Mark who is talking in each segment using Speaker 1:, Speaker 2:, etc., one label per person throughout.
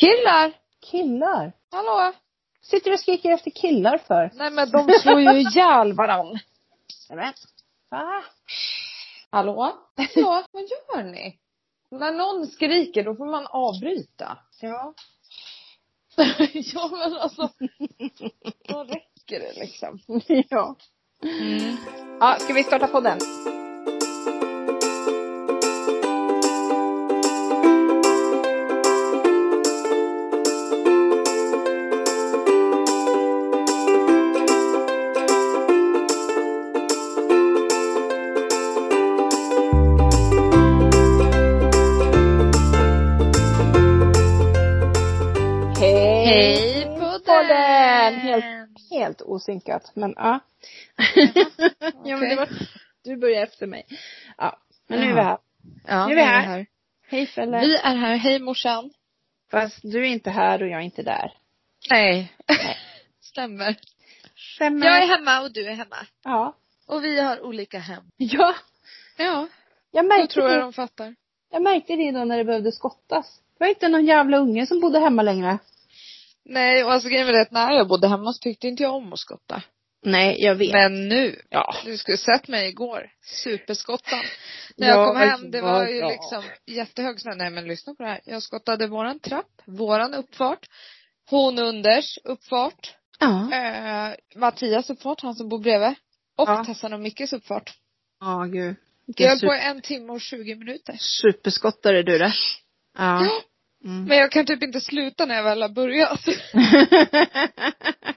Speaker 1: Killar!
Speaker 2: Killar?
Speaker 1: Hallå!
Speaker 2: Sitter du och skriker efter killar för?
Speaker 1: Nej men de slår ju ihjäl varann.
Speaker 2: Nämen. Va?
Speaker 1: Hallå? Hallå, vad gör ni? När någon skriker då får man avbryta.
Speaker 2: Ja.
Speaker 1: ja men alltså, då räcker det liksom. Mm.
Speaker 2: ja.
Speaker 1: Ja, ska vi starta podden?
Speaker 2: Hej!
Speaker 1: podden!
Speaker 2: Helt, helt osynkat, men ja. ja, men det var, du börjar efter mig. Ja, men nu är vi här.
Speaker 1: Ja,
Speaker 2: Nu är vi här. Hej Felle.
Speaker 1: Vi är här. Hej morsan.
Speaker 2: Fast du är inte här och jag är inte där.
Speaker 1: Nej. Stämmer.
Speaker 2: Stämmer.
Speaker 1: Jag är hemma och du är hemma.
Speaker 2: Ja.
Speaker 1: Och vi har olika hem.
Speaker 2: Ja.
Speaker 1: Ja,
Speaker 2: Jag
Speaker 1: då
Speaker 2: märkte,
Speaker 1: tror jag
Speaker 2: det,
Speaker 1: de fattar.
Speaker 2: jag märkte det då när det behövde skottas. Det var inte någon jävla unge som bodde hemma längre.
Speaker 1: Nej, och alltså grejen var det att när jag bodde hemma så tyckte inte jag om att skotta.
Speaker 2: Nej, jag vet.
Speaker 1: Men nu,
Speaker 2: Ja.
Speaker 1: du skulle sett mig igår. Superskottan. När jag
Speaker 2: Ja,
Speaker 1: kom hem, det var
Speaker 2: vad
Speaker 1: ju
Speaker 2: bra.
Speaker 1: liksom jättehög snö. Nej men lyssna på det här. Jag skottade våran trapp, våran uppfart, hon unders uppfart,
Speaker 2: Ja.
Speaker 1: eh, Mattias uppfart, han som bor bredvid. Och
Speaker 2: Ja.
Speaker 1: Tessan och Mickes uppfart.
Speaker 2: Ja, gud.
Speaker 1: Jag
Speaker 2: Vilken
Speaker 1: höll på
Speaker 2: super,
Speaker 1: i en timme och 20 minuter.
Speaker 2: superskottare du det. Ja.
Speaker 1: Ja.
Speaker 2: Mm.
Speaker 1: Men jag kan typ inte sluta när jag väl har börjat.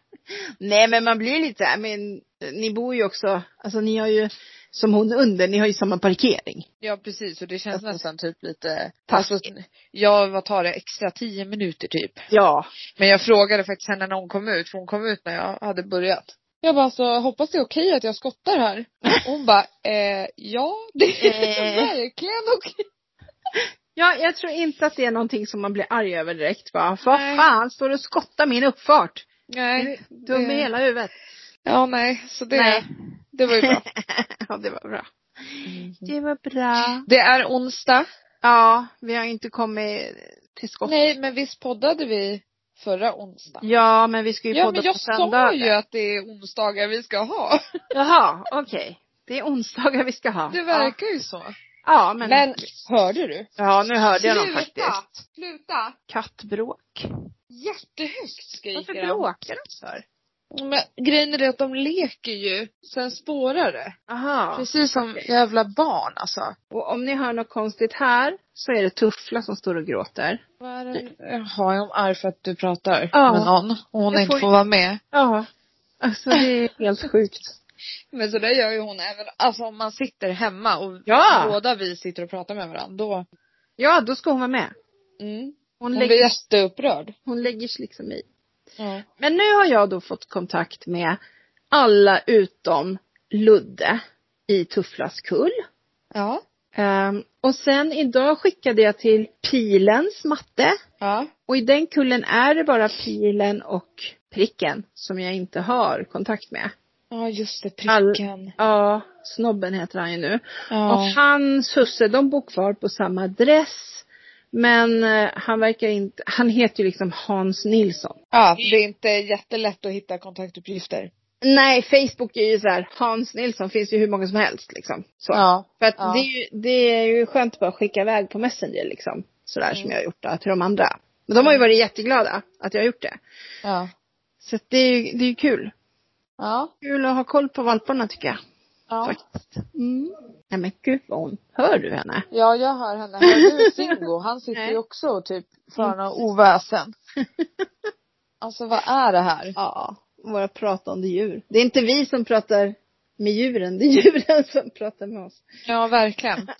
Speaker 2: Nej men man blir lite, I men ni bor ju också, alltså ni har ju, som hon under, ni har ju samma parkering.
Speaker 1: Ja precis och det känns
Speaker 2: Alltså-
Speaker 1: nästan typ lite
Speaker 2: Taskigt.
Speaker 1: alltså, Ja vad tar det, extra tio minuter typ.
Speaker 2: Ja.
Speaker 1: Men jag frågade faktiskt henne när hon kom ut, för hon kom ut när jag hade börjat. Jag bara så hoppas det är okej att jag skottar här. Och hon bara, eh, ja det är
Speaker 2: Eh.
Speaker 1: verkligen okej.
Speaker 2: Ja, jag tror inte att det är någonting som man blir arg över direkt va. Vad
Speaker 1: Nej.
Speaker 2: fan står du och skottar min uppfart?
Speaker 1: Nej.
Speaker 2: Dum i hela huvudet.
Speaker 1: Ja nej, så det,
Speaker 2: Nej.
Speaker 1: det var ju bra.
Speaker 2: ja, det var bra. Mm. Det var bra.
Speaker 1: Det är onsdag.
Speaker 2: Ja, vi har inte kommit till skott.
Speaker 1: Nej men visst poddade vi förra onsdagen?
Speaker 2: Ja, men Mm, vi ska ju
Speaker 1: Ja men
Speaker 2: podda på
Speaker 1: jag
Speaker 2: söndag.
Speaker 1: sa ju att det är onsdagar vi ska ha.
Speaker 2: Jaha, okej. Det är onsdagar vi ska ha.
Speaker 1: Det verkar ju så.
Speaker 2: Ja, ja men,
Speaker 1: Men hörde du?
Speaker 2: Ja, nu hörde jag dem
Speaker 1: Sluta!
Speaker 2: faktiskt.
Speaker 1: Sluta!
Speaker 2: Kattbråk.
Speaker 1: Jättehögt skriker
Speaker 2: Varför
Speaker 1: de.
Speaker 2: bråkar de för?
Speaker 1: Men grejen är det att de leker ju, sen spårar det.
Speaker 2: Aha.
Speaker 1: Precis som jävla barn alltså.
Speaker 2: Och om ni hör något konstigt här så är det Tuffla som står och gråter.
Speaker 1: Vad är det? Jaha, jag är arg för att du pratar
Speaker 2: Ja.
Speaker 1: med någon och hon
Speaker 2: Jag
Speaker 1: inte
Speaker 2: får-
Speaker 1: får vara med.
Speaker 2: Ja. Alltså det är helt sjukt.
Speaker 1: Men så det gör ju hon även, alltså om man sitter hemma och
Speaker 2: Ja.
Speaker 1: båda vi sitter och pratar med varandra då,
Speaker 2: Ja, då ska hon vara med.
Speaker 1: mm,
Speaker 2: Hon,
Speaker 1: hon
Speaker 2: lägger,
Speaker 1: blir jätteupprörd.
Speaker 2: hon lägger sig liksom i.
Speaker 1: Ja.
Speaker 2: Men nu har jag då fått kontakt med alla utom Ludde i Tufflas kull.
Speaker 1: Ja.
Speaker 2: Ehm, och sen idag skickade jag till Pilens matte.
Speaker 1: Ja.
Speaker 2: Och i den kullen är det bara pilen och pricken som jag inte har kontakt med.
Speaker 1: Ja just det,
Speaker 2: All-
Speaker 1: pricken.
Speaker 2: Ja, snobben heter han ju nu. Och
Speaker 1: Ja.
Speaker 2: hans husse, de bor kvar på samma adress. Men eh, han verkar inte, han heter ju liksom Hans Nilsson.
Speaker 1: ja, det är inte jättelätt att hitta kontaktuppgifter.
Speaker 2: Nej, Facebook är ju så här, Hans Nilsson finns ju hur många som helst liksom. Så.
Speaker 1: Ja.
Speaker 2: För att
Speaker 1: Ja.
Speaker 2: det, är ju, det är ju skönt att bara skicka iväg på Messenger liksom. Sådär som jag har gjort då, till de andra. Men de har ju varit jätteglada att jag har gjort det.
Speaker 1: Ja.
Speaker 2: Så att det är ju det är ju kul.
Speaker 1: Ja.
Speaker 2: Kul att ha koll på valparna tycker jag.
Speaker 1: ja.
Speaker 2: Faktiskt. Mm. Nej men gud vad hon, hör du henne?
Speaker 1: Ja, jag hör henne. Hör du Singo? Han sitter
Speaker 2: Nej.
Speaker 1: ju också och typ för några oväsen. Alltså vad är det här?
Speaker 2: Ja, våra pratande djur. Det är inte vi som pratar med djuren, det är djuren som pratar med oss.
Speaker 1: Ja, verkligen.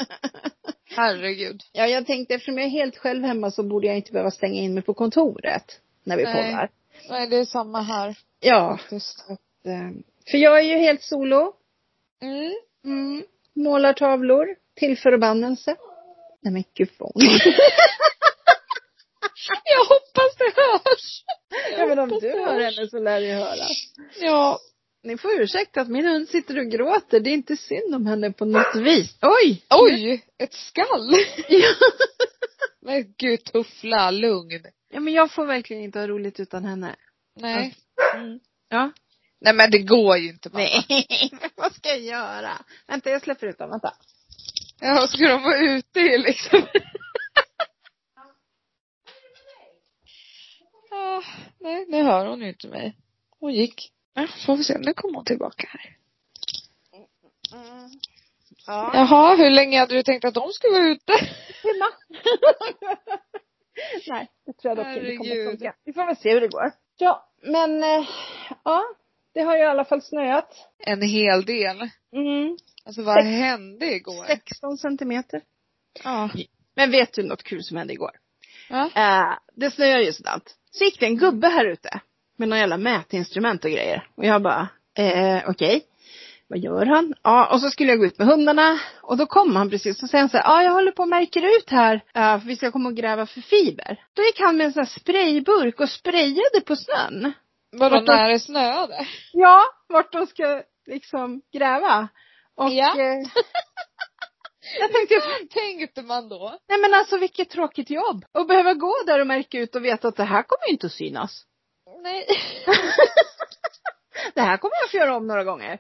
Speaker 1: Herregud.
Speaker 2: Ja, jag tänkte eftersom jag är helt själv hemma så borde jag inte behöva stänga in mig på kontoret när vi
Speaker 1: Nej.
Speaker 2: poddar.
Speaker 1: Nej, det är samma här
Speaker 2: Ja.
Speaker 1: faktiskt.
Speaker 2: eh, För jag är ju helt solo.
Speaker 1: Mm.
Speaker 2: Mm. Målar tavlor till förbannelse. Nej men gud vad hon...
Speaker 1: Jag hoppas det hörs.
Speaker 2: ja, men om du hör henne så lär det ju höras.
Speaker 1: Ja.
Speaker 2: Ni får ursäkta att min hund sitter och gråter. Det är inte synd om henne på något vis. Oj!
Speaker 1: Oj, Mm. ett skall.
Speaker 2: Ja.
Speaker 1: Men gud, tuffla, lugn.
Speaker 2: Ja men jag får verkligen inte ha roligt utan henne.
Speaker 1: Nej.
Speaker 2: Mm. Ja.
Speaker 1: Nej men det går ju inte mamma.
Speaker 2: Nej, men vad ska jag göra? Vänta jag släpper ut dem, vänta.
Speaker 1: Ja, ska de vara ute i liksom? ja, nej, nu hör hon ju inte mig. Hon gick. Ja, får vi se, nu kommer hon tillbaka här.
Speaker 2: Mm. Ja.
Speaker 1: Jaha, hur länge hade du tänkt att de skulle vara ute?
Speaker 2: Hemma. Nej, det tror jag dock inte kommer
Speaker 1: Herregud.
Speaker 2: att funka. Vi får väl se hur det går. Ja, men eh, ja. Det har ju i alla fall snöat.
Speaker 1: En hel del.
Speaker 2: Mm.
Speaker 1: Alltså vad
Speaker 2: Sex.
Speaker 1: hände igår?
Speaker 2: 16 centimeter.
Speaker 1: Ja.
Speaker 2: Men vet du något kul som hände igår?
Speaker 1: ja.
Speaker 2: Eh, det snöar ju sådant. Så gick det en gubbe här ute. Med några jävla mätinstrument och grejer. Och jag bara, eh, okej. Vad gör han? Ja, och så skulle jag gå ut med hundarna. Och då kom han precis och säger han så här, ja jag håller på och märker ut här. eh, för vi ska komma och gräva för fiber. Då gick han med en sån här sprayburk och sprayade på snön.
Speaker 1: Vadå
Speaker 2: Vart-
Speaker 1: när det snöade?
Speaker 2: Ja, vart de ska liksom gräva. Och
Speaker 1: Ja.
Speaker 2: eh, jag tänkte,
Speaker 1: Tänkte man då?
Speaker 2: nej men alltså vilket tråkigt jobb. Att behöva gå där och märka ut och veta att det här kommer ju inte att synas.
Speaker 1: Nej.
Speaker 2: det här kommer jag få göra om några gånger.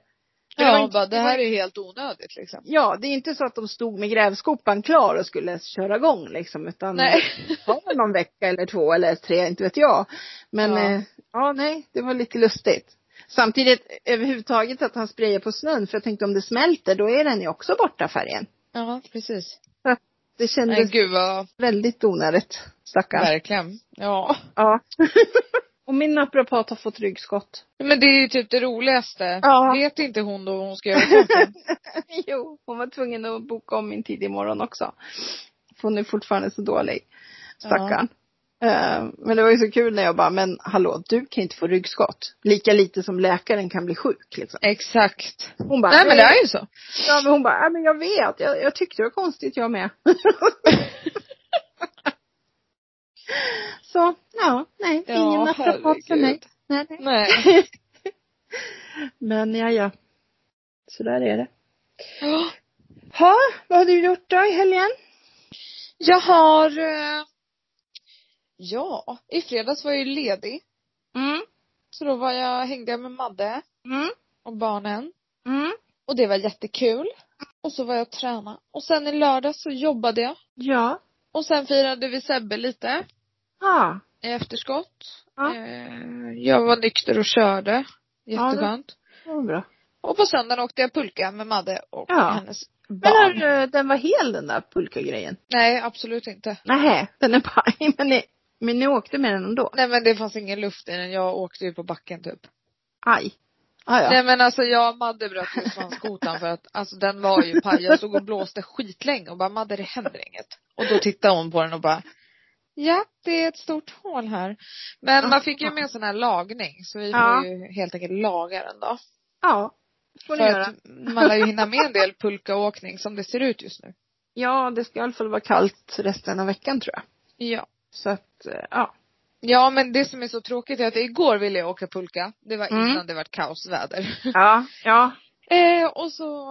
Speaker 2: För det var
Speaker 1: Ja,
Speaker 2: inte-
Speaker 1: bara, det
Speaker 2: var-
Speaker 1: här är helt onödigt liksom.
Speaker 2: Ja, det är inte så att de stod med grävskopan klar och skulle köra igång liksom utan
Speaker 1: Nej.
Speaker 2: det var väl någon vecka eller två eller tre, inte vet jag. Men
Speaker 1: Ja.
Speaker 2: ja, eh, ja nej, det var lite lustigt. Samtidigt överhuvudtaget att han sprayar på snön för jag tänkte om det smälter då är den ju också borta färgen.
Speaker 1: Ja, precis.
Speaker 2: Det kändes
Speaker 1: Men gud vad,
Speaker 2: väldigt onödigt. Stackarn.
Speaker 1: verkligen. Ja.
Speaker 2: Ja. och min naprapat har fått ryggskott.
Speaker 1: Men det är ju typ det roligaste.
Speaker 2: Ja.
Speaker 1: Vet inte hon då vad hon ska göra klockan?
Speaker 2: Jo, hon var tvungen att boka om min tid imorgon också. För hon är fortfarande så dålig. Stackarn. Eh, Men det var ju så kul när jag bara, men hallå, du kan inte få ryggskott. Lika lite som läkaren kan bli sjuk liksom.
Speaker 1: Exakt.
Speaker 2: Hon bara,
Speaker 1: Nej men det är ju så.
Speaker 2: ja, men hon bara, "Ja, men jag vet, jag, jag tyckte det var konstigt jag med. så, ja, nej, ingen
Speaker 1: Ja,
Speaker 2: naprapat för mig.
Speaker 1: herregud.
Speaker 2: Nej, nej.
Speaker 1: Nej.
Speaker 2: Men ja, ja. Så där är det. Ha, vad har du gjort då i helgen?
Speaker 1: Jag har, eh, ja, i fredags var jag ju ledig.
Speaker 2: Mm,
Speaker 1: Så då var jag, hängde jag med Madde
Speaker 2: mm,
Speaker 1: och barnen.
Speaker 2: mm.
Speaker 1: Och det var jättekul. Och så var jag och tränade. Och sen i lördags så jobbade jag.
Speaker 2: Ja.
Speaker 1: Och sen firade vi Sebbe lite
Speaker 2: Ja.
Speaker 1: i efterskott.
Speaker 2: Ja.
Speaker 1: Eh, Jag var nykter och körde. Jätteskönt.
Speaker 2: det var bra.
Speaker 1: Och på söndagen åkte jag pulka med Madde och
Speaker 2: Ja.
Speaker 1: hennes
Speaker 2: Men
Speaker 1: barn.
Speaker 2: hörru, den var hel den där pulkagrejen?
Speaker 1: Nej, absolut inte.
Speaker 2: Nej, den är paj. Men ni, men ni åkte med den ändå?
Speaker 1: Nej men det fanns ingen luft i den. Jag åkte ju på backen typ.
Speaker 2: Aj. Ah, ja.
Speaker 1: Nej men alltså jag och Madde bröt ju svanskotan för att alltså den var ju paj. Jag stod och blåste skitlänge och bara Madde det händer inget. Och då tittade hon på den och bara Ja, det är ett stort hål här. Men man fick ju med en sån här lagning så vi får
Speaker 2: Ja.
Speaker 1: ju helt enkelt laga den då.
Speaker 2: Ja. Får ni
Speaker 1: För
Speaker 2: göra.
Speaker 1: att man lär ju hinna med en del pulkaåkning som det ser ut just nu.
Speaker 2: Ja, det ska i alla fall vara kallt resten av veckan tror jag.
Speaker 1: Ja.
Speaker 2: Så att, eh, ja.
Speaker 1: Ja men det som är så tråkigt är att igår ville jag åka pulka. Det var innan
Speaker 2: Mm.
Speaker 1: det var kaosväder.
Speaker 2: Ja, ja.
Speaker 1: Eh, och så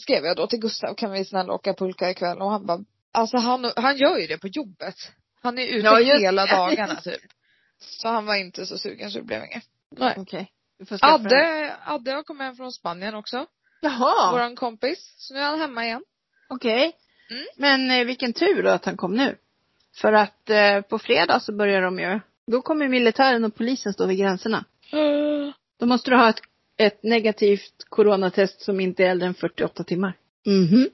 Speaker 1: skrev jag då till Gustav, kan vi snälla åka pulka ikväll? Och han bara, alltså han, han gör ju det på jobbet. Han är ute
Speaker 2: Ja, just
Speaker 1: hela
Speaker 2: det.
Speaker 1: dagarna typ. Så han var inte så sugen så det blev inget. Nej.
Speaker 2: Okej. Du får släppa den.
Speaker 1: Adde, Adde har kommit hem från Spanien också.
Speaker 2: Jaha,
Speaker 1: Våran kompis. Så nu är han hemma igen.
Speaker 2: okej.
Speaker 1: Mm.
Speaker 2: Men eh, vilken tur då att han kom nu. För att eh, på fredag så börjar de ju, då kommer militären och polisen stå vid gränserna. Då måste du ha ett, ett negativt coronatest som inte är äldre än 48 timmar. Mhm.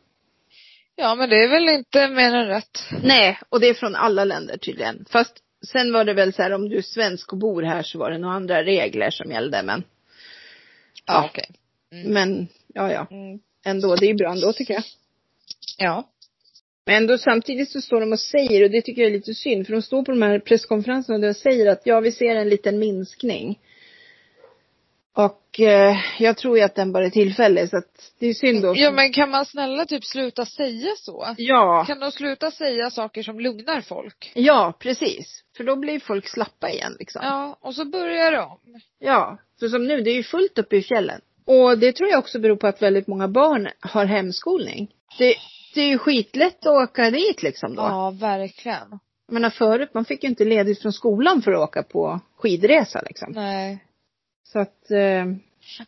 Speaker 1: Ja men det är väl inte mer än rätt.
Speaker 2: Nej, och det är från alla länder tydligen. Fast sen var det väl så här om du är svensk och bor här så var det några andra regler som gällde men,
Speaker 1: Ja okej.
Speaker 2: men ja ja,
Speaker 1: Mm.
Speaker 2: ändå. Det är ju bra ändå tycker jag.
Speaker 1: Ja.
Speaker 2: Men ändå samtidigt så står de och säger, och det tycker jag är lite synd, för de står på de här presskonferenserna och de säger att ja, vi ser en liten minskning. Och eh, jag tror ju att den bara är tillfällig så att det är synd då.
Speaker 1: Ja men kan man snälla typ sluta säga så?
Speaker 2: ja.
Speaker 1: Kan de sluta säga saker som lugnar folk?
Speaker 2: Ja, precis. För då blir folk slappa igen liksom. Ja.
Speaker 1: Ja, och så börjar de. om.
Speaker 2: För som nu, det är ju fullt uppe i fjällen. Och det tror jag också beror på att väldigt många barn har hemskolning. Det, det är ju skitlätt att åka dit liksom då.
Speaker 1: Ja, verkligen.
Speaker 2: Jag menar förut, man fick ju inte ledigt från skolan för att åka på skidresa liksom.
Speaker 1: Nej.
Speaker 2: Så att, eh,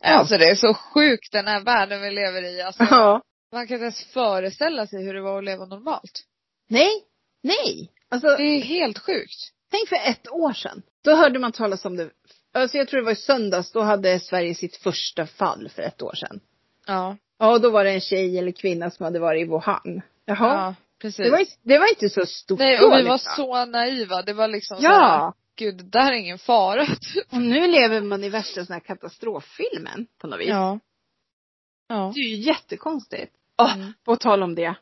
Speaker 1: Alltså det är så sjukt den här världen vi lever i. Alltså,
Speaker 2: ja.
Speaker 1: man kan inte ens föreställa sig hur det var att leva normalt.
Speaker 2: Nej, nej. Alltså,
Speaker 1: Det är helt sjukt.
Speaker 2: tänk för ett år sedan. Då hörde man talas om det. Alltså jag tror det var i söndags, då hade Sverige sitt första fall för ett år sedan.
Speaker 1: Ja.
Speaker 2: Ja, och då var det en tjej eller kvinna som hade varit i Wuhan. Jaha.
Speaker 1: Ja, precis.
Speaker 2: Det var, inte- det var inte så stort
Speaker 1: Nej,
Speaker 2: då,
Speaker 1: och vi var
Speaker 2: liksom.
Speaker 1: så naiva. Det var liksom så här,
Speaker 2: Ja.
Speaker 1: gud, det där är ingen fara. typ.
Speaker 2: Och nu lever man i värsta sån här katastroffilmen på något vis.
Speaker 1: Ja. Ja.
Speaker 2: Det är ju jättekonstigt. Åh,
Speaker 1: Mm.
Speaker 2: på tal om det.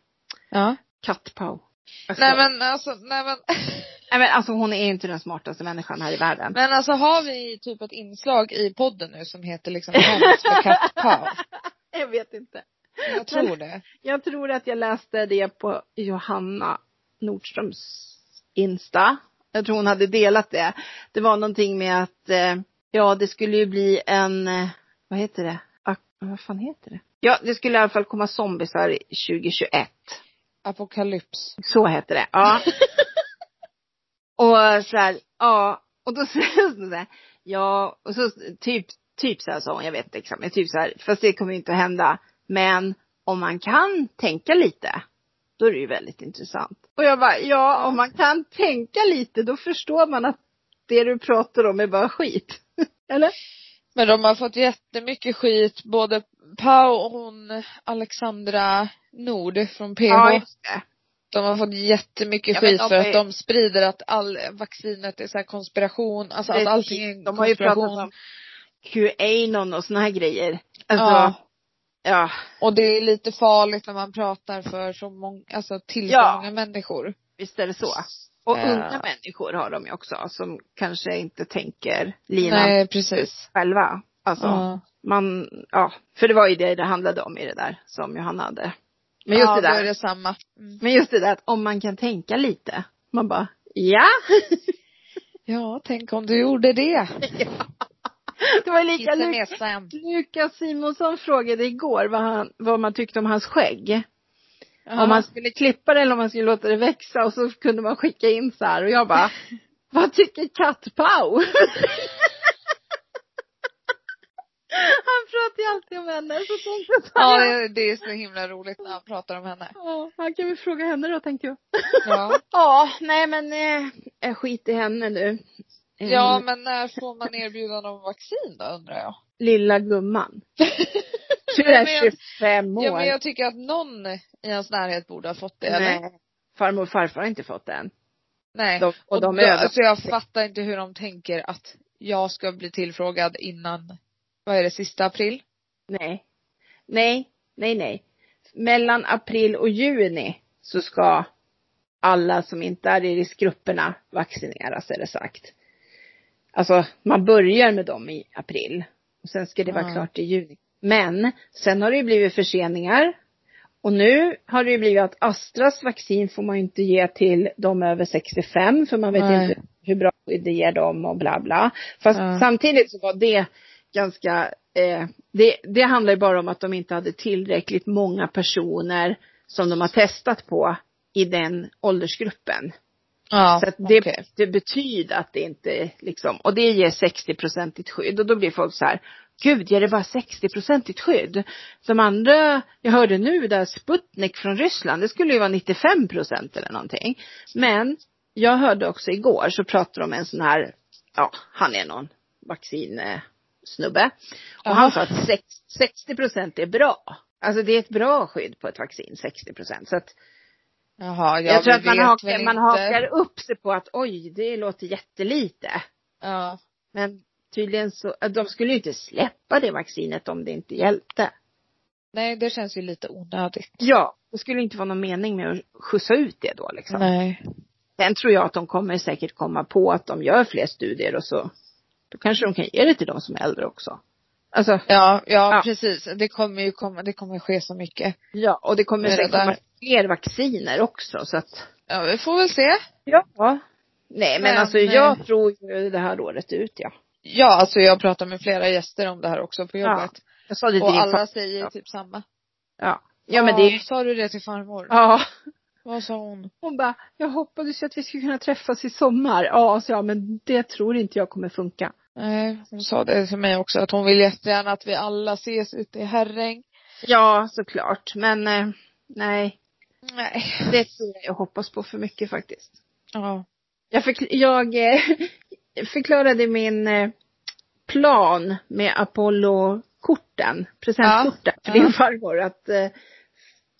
Speaker 1: ja.
Speaker 2: Kattpau. Alltså,
Speaker 1: Nej men alltså, nej men.
Speaker 2: nej men alltså hon är ju inte den smartaste människan här i världen.
Speaker 1: Men alltså har vi typ ett inslag i podden nu som heter liksom Skämt för kattpaus?
Speaker 2: Jag vet inte.
Speaker 1: Jag tror det.
Speaker 2: Jag tror att jag läste det på Johanna Nordströms Insta. Jag tror hon hade delat det. Det var någonting med att, eh, ja det skulle ju bli en, eh, vad heter det? Ak- vad fan heter det? Ja, det skulle i alla fall komma zombisar 2021.
Speaker 1: Apokalyps.
Speaker 2: Så heter det, ja. och så här, ja. Och då säger hon så här, ja, och så typ, typ så här sa hon, jag vet inte exakt, men typ så här, fast det kommer ju inte att hända. Men om man kan tänka lite, då är det ju väldigt intressant. Och jag bara, ja, om man kan tänka lite, då förstår man att det du pratar om är bara skit. Eller?
Speaker 1: Men de har fått jättemycket skit, både Pau och hon Alexandra Nord från PH.
Speaker 2: just det.
Speaker 1: De har fått jättemycket
Speaker 2: Ja, men
Speaker 1: skit
Speaker 2: de
Speaker 1: för
Speaker 2: är-
Speaker 1: att de sprider att all, vaccinet är så här konspiration, alltså att allting är en
Speaker 2: De har ju pratat
Speaker 1: konspiration.
Speaker 2: om QAnon och såna här grejer. Alltså,
Speaker 1: Ja.
Speaker 2: ja.
Speaker 1: Och det är lite farligt när man pratar för så många, alltså till
Speaker 2: Ja.
Speaker 1: så många människor.
Speaker 2: Visst är det så. Och
Speaker 1: Eh.
Speaker 2: unga människor har de ju också som kanske inte tänker linan
Speaker 1: Nej, precis.
Speaker 2: själva. Alltså
Speaker 1: Ja.
Speaker 2: man, ja, för det var ju det det handlade om i det där som Johanna hade. Men just
Speaker 1: ja,
Speaker 2: det
Speaker 1: då
Speaker 2: där,
Speaker 1: är det samma. Mm.
Speaker 2: men just det där att om man kan tänka lite. Man bara, ja.
Speaker 1: Ja, tänk om du gjorde det.
Speaker 2: Det var ju lika
Speaker 1: Kissen är
Speaker 2: Luk-
Speaker 1: sen.
Speaker 2: Lukas Simonsson frågade igår vad, han, vad man tyckte om hans skägg. Om man skulle klippa det eller om man skulle låta det växa och så kunde man skicka in så här och jag bara, vad tycker kattpau? Han pratar ju alltid om henne så tänkte jag så
Speaker 1: Ja,
Speaker 2: här,
Speaker 1: det- det är så himla roligt när han pratar om henne.
Speaker 2: ja, han kan vi fråga henne då tänkte jag.
Speaker 1: Ja.
Speaker 2: Ja, nej men eh, jag skit i henne nu. Eh,
Speaker 1: ja, men när får man erbjudande om vaccin då undrar jag?
Speaker 2: Lilla gumman.
Speaker 1: Ja,
Speaker 2: Tyvärr
Speaker 1: men jag-
Speaker 2: 25 år.
Speaker 1: Ja, men jag tycker att någon i ens närhet borde ha fått det, eller?
Speaker 2: nej. Farmor och farfar har inte fått det än.
Speaker 1: Nej.
Speaker 2: De, och de
Speaker 1: då,
Speaker 2: är över.
Speaker 1: alltså jag fattar inte hur de tänker att jag ska bli tillfrågad innan, vad är det, sista april?
Speaker 2: Nej. Nej, nej, nej. Mellan april och juni så ska alla som inte är i riskgrupperna vaccineras är det sagt. Alltså man börjar med dem i april och sen ska det vara
Speaker 1: Ja.
Speaker 2: klart i juni. Men sen har det ju blivit förseningar och nu har det ju blivit att Astras vaccin får man ju inte ge till de över 65 för man vet
Speaker 1: Nej.
Speaker 2: inte hur bra skydd det ger dem och bla bla. Fast
Speaker 1: Ja.
Speaker 2: samtidigt så var det ganska, eh, det, det handlar ju bara om att de inte hade tillräckligt många personer som de har testat på i den åldersgruppen.
Speaker 1: Ja,
Speaker 2: så att det,
Speaker 1: okej.
Speaker 2: det betyder att det inte liksom, och det ger 60-procentigt skydd och då blir folk så här, gud ger det bara 60-procentigt skydd? De andra, jag hörde nu där Sputnik från Ryssland, det skulle ju vara 95 procent eller någonting. Men jag hörde också igår så pratade de om en sån här, ja han är någon vaccinsnubbe. Och
Speaker 1: Jaha.
Speaker 2: han sa att sex- 60 procent är bra. Alltså det är ett bra skydd på ett vaccin, 60 procent. Så att
Speaker 1: Jaha, ja,
Speaker 2: jag tror
Speaker 1: vi
Speaker 2: att man,
Speaker 1: vet
Speaker 2: hakar,
Speaker 1: väl
Speaker 2: man
Speaker 1: inte.
Speaker 2: hakar upp sig på att oj, det låter jättelite.
Speaker 1: Ja.
Speaker 2: Men tydligen så, eh, de skulle ju inte släppa det vaccinet om det inte hjälpte.
Speaker 1: Nej, det känns ju lite onödigt.
Speaker 2: Ja. Det skulle inte vara någon mening med att skjutsa ut det då liksom.
Speaker 1: Nej.
Speaker 2: Sen tror jag att de kommer säkert komma på att de gör fler studier och så, då kanske de kan ge det till de som är äldre också. Alltså,
Speaker 1: Ja, ja,
Speaker 2: Ja.
Speaker 1: precis. Det kommer ju komma, det kommer ske så mycket.
Speaker 2: ja, och det kommer
Speaker 1: Men det
Speaker 2: säkert komma
Speaker 1: där-
Speaker 2: fler vacciner också så att
Speaker 1: Ja, vi får väl se.
Speaker 2: Ja. Nej men,
Speaker 1: Men,
Speaker 2: alltså
Speaker 1: eh,
Speaker 2: jag tror ju det här året ut ja.
Speaker 1: Ja, alltså jag pratar med flera gäster om det här också på
Speaker 2: Ja.
Speaker 1: jobbet.
Speaker 2: Jag sa det till
Speaker 1: och
Speaker 2: din
Speaker 1: alla
Speaker 2: far-
Speaker 1: säger
Speaker 2: ja.
Speaker 1: typ samma.
Speaker 2: Ja. Ja men det är ju
Speaker 1: Sa du det till farmor?
Speaker 2: Ja.
Speaker 1: Vad sa hon?
Speaker 2: Hon bara, jag hoppades ju att vi skulle kunna träffas i sommar. Ja, så ja, men det tror inte jag kommer funka.
Speaker 1: Nej, hon sa det till mig också att hon vill jättegärna att vi alla ses ute i Herräng.
Speaker 2: Ja, såklart. Men eh, nej,
Speaker 1: Nej.
Speaker 2: det tror jag jag hoppas på för mycket faktiskt.
Speaker 1: Ja.
Speaker 2: Jag, förkl- jag eh, förklarade min eh, plan med Apollo-korten, presentkorten
Speaker 1: Ja,
Speaker 2: för din
Speaker 1: ja.
Speaker 2: farmor. Att, eh,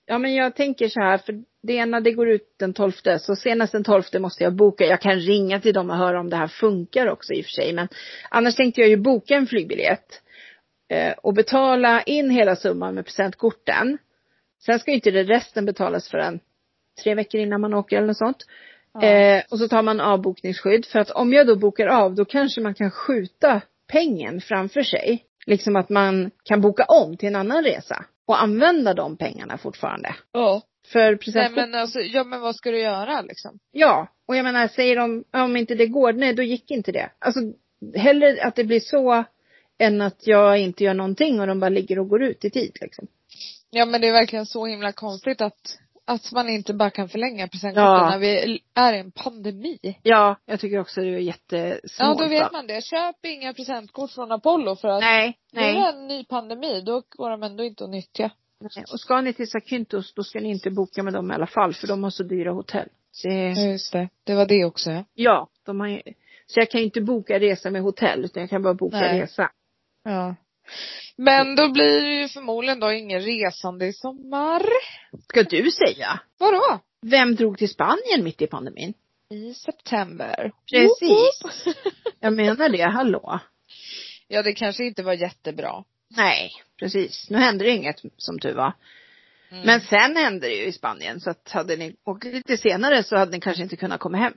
Speaker 2: ja men jag tänker så här, för det ena det går ut den 12 så senast den 12 måste jag boka. Jag kan ringa till dem och höra om det här funkar också i och för sig. Men annars tänkte jag ju boka en flygbiljett eh, och betala in hela summan med presentkorten. Sen ska ju inte det resten betalas förrän tre veckor innan man åker eller något sånt.
Speaker 1: Ja.
Speaker 2: Eh, och så tar man avbokningsskydd för att om jag då bokar av då kanske man kan skjuta pengen framför sig. Liksom att man kan boka om till en annan resa och använda de pengarna fortfarande.
Speaker 1: ja.
Speaker 2: För
Speaker 1: Nej
Speaker 2: presentkort,
Speaker 1: men alltså, ja men vad ska du göra liksom?
Speaker 2: ja. Och jag menar, säger de om inte det går, nej då gick inte det. Alltså hellre att det blir så än att jag inte gör någonting och de bara ligger och går ut i tid liksom.
Speaker 1: Ja men det är verkligen så himla konstigt att, att man inte bara kan förlänga presentkorten
Speaker 2: Ja.
Speaker 1: när vi är i en pandemi.
Speaker 2: Ja, jag tycker också det är jättesnålt.
Speaker 1: Ja då
Speaker 2: va?
Speaker 1: vet man det. Köp inga presentkort från Apollo för att
Speaker 2: Nej, nej.
Speaker 1: det är en ny pandemi, då går de ändå inte att nyttja.
Speaker 2: Nej, och ska ni till Zakynthos då ska ni inte boka med dem i alla fall för de har så dyra hotell. Så,
Speaker 1: Ja, just det. Det var det också ja.
Speaker 2: ja, de har, ju- så jag kan ju inte boka resa med hotell utan jag kan bara boka
Speaker 1: Nej.
Speaker 2: resa.
Speaker 1: ja. Men då blir det ju förmodligen då ingen resande i sommar.
Speaker 2: Ska du säga?
Speaker 1: Vadå?
Speaker 2: Vem drog till Spanien mitt i pandemin?
Speaker 1: I september.
Speaker 2: Precis.
Speaker 1: Woop
Speaker 2: Jag menar det, hallå.
Speaker 1: Ja, det kanske inte var jättebra.
Speaker 2: Nej, precis. Nu hände det inget som tur var.
Speaker 1: Mm.
Speaker 2: Men sen hände det ju i Spanien så att hade ni åkt lite senare så hade ni kanske inte kunnat komma hem.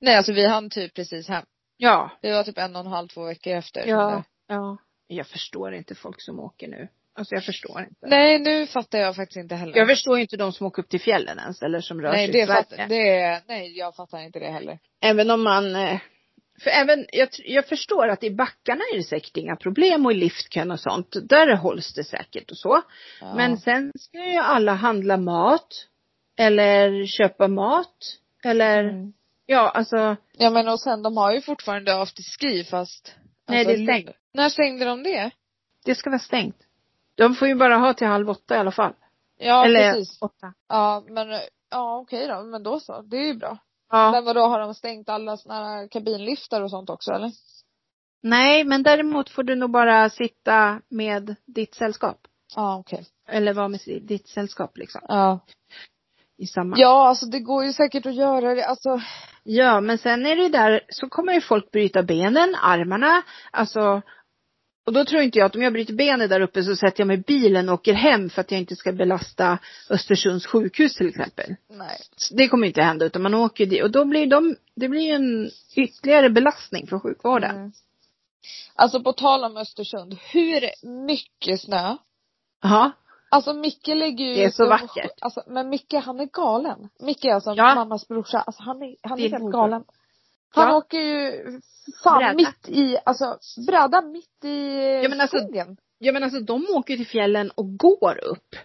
Speaker 1: Nej, alltså vi hann typ precis hem.
Speaker 2: Ja.
Speaker 1: Vi var typ en och en halv, två veckor efter.
Speaker 2: Ja. Ja. Jag förstår inte folk som åker nu. Alltså jag förstår inte.
Speaker 1: Nej, nu fattar jag faktiskt inte heller.
Speaker 2: Jag förstår ju inte de som åker upp till fjällen ens eller som rör
Speaker 1: nej,
Speaker 2: sig i
Speaker 1: det
Speaker 2: Sverige.
Speaker 1: fattar, det är, nej, jag fattar inte det heller.
Speaker 2: Även om man eh, för även, jag, tr- jag förstår att i backarna är det säkert inga problem och i liftkön och sånt. Där hålls det säkert och så.
Speaker 1: Ja.
Speaker 2: Men sen ska ju alla handla mat. Eller köpa mat. Eller,
Speaker 1: Mm.
Speaker 2: ja alltså,
Speaker 1: Ja, men och sen, de har ju fortfarande afterski fast. alltså,
Speaker 2: Nej, det är stängt.
Speaker 1: När stängde de det?
Speaker 2: det ska vara stängt. De får ju bara ha till halv åtta i alla fall.
Speaker 1: Ja,
Speaker 2: eller
Speaker 1: precis.
Speaker 2: åtta.
Speaker 1: Ja, men eh, ja, okej då. Men då så. Det är ju bra.
Speaker 2: Ja.
Speaker 1: Men vadå, har de stängt alla såna här kabinliftar och sånt också eller?
Speaker 2: Nej, men däremot får du nog bara sitta med ditt sällskap.
Speaker 1: Ja, okej.
Speaker 2: Eller vara med si- ditt sällskap liksom.
Speaker 1: Ja.
Speaker 2: I samma.
Speaker 1: Ja, alltså det går ju säkert att göra det. Alltså,
Speaker 2: Ja, men sen är det ju där, så kommer ju folk bryta benen, armarna, alltså. Och då tror inte jag att om jag bryter benet där uppe så sätter jag mig i bilen och åker hem för att jag inte ska belasta Östersunds sjukhus till exempel.
Speaker 1: nej.
Speaker 2: Så det kommer inte hända utan man åker dit och då blir de, det blir ju en ytterligare belastning för sjukvården.
Speaker 1: Mm. Alltså på tal om Östersund, hur mycket snö?
Speaker 2: Ja,
Speaker 1: Alltså Micke lägger ju
Speaker 2: Det är så
Speaker 1: ut-
Speaker 2: vackert.
Speaker 1: Alltså, men Micke han är galen. Micke är alltså
Speaker 2: Ja.
Speaker 1: mammas brorsa, alltså han är, han är
Speaker 2: Det är
Speaker 1: helt
Speaker 2: god.
Speaker 1: galen. Han
Speaker 2: Ja.
Speaker 1: åker ju fan
Speaker 2: Bräda.
Speaker 1: mitt i, alltså bräda mitt i
Speaker 2: Ja, men alltså-
Speaker 1: skogen.
Speaker 2: ja men alltså de åker till fjällen och går upp.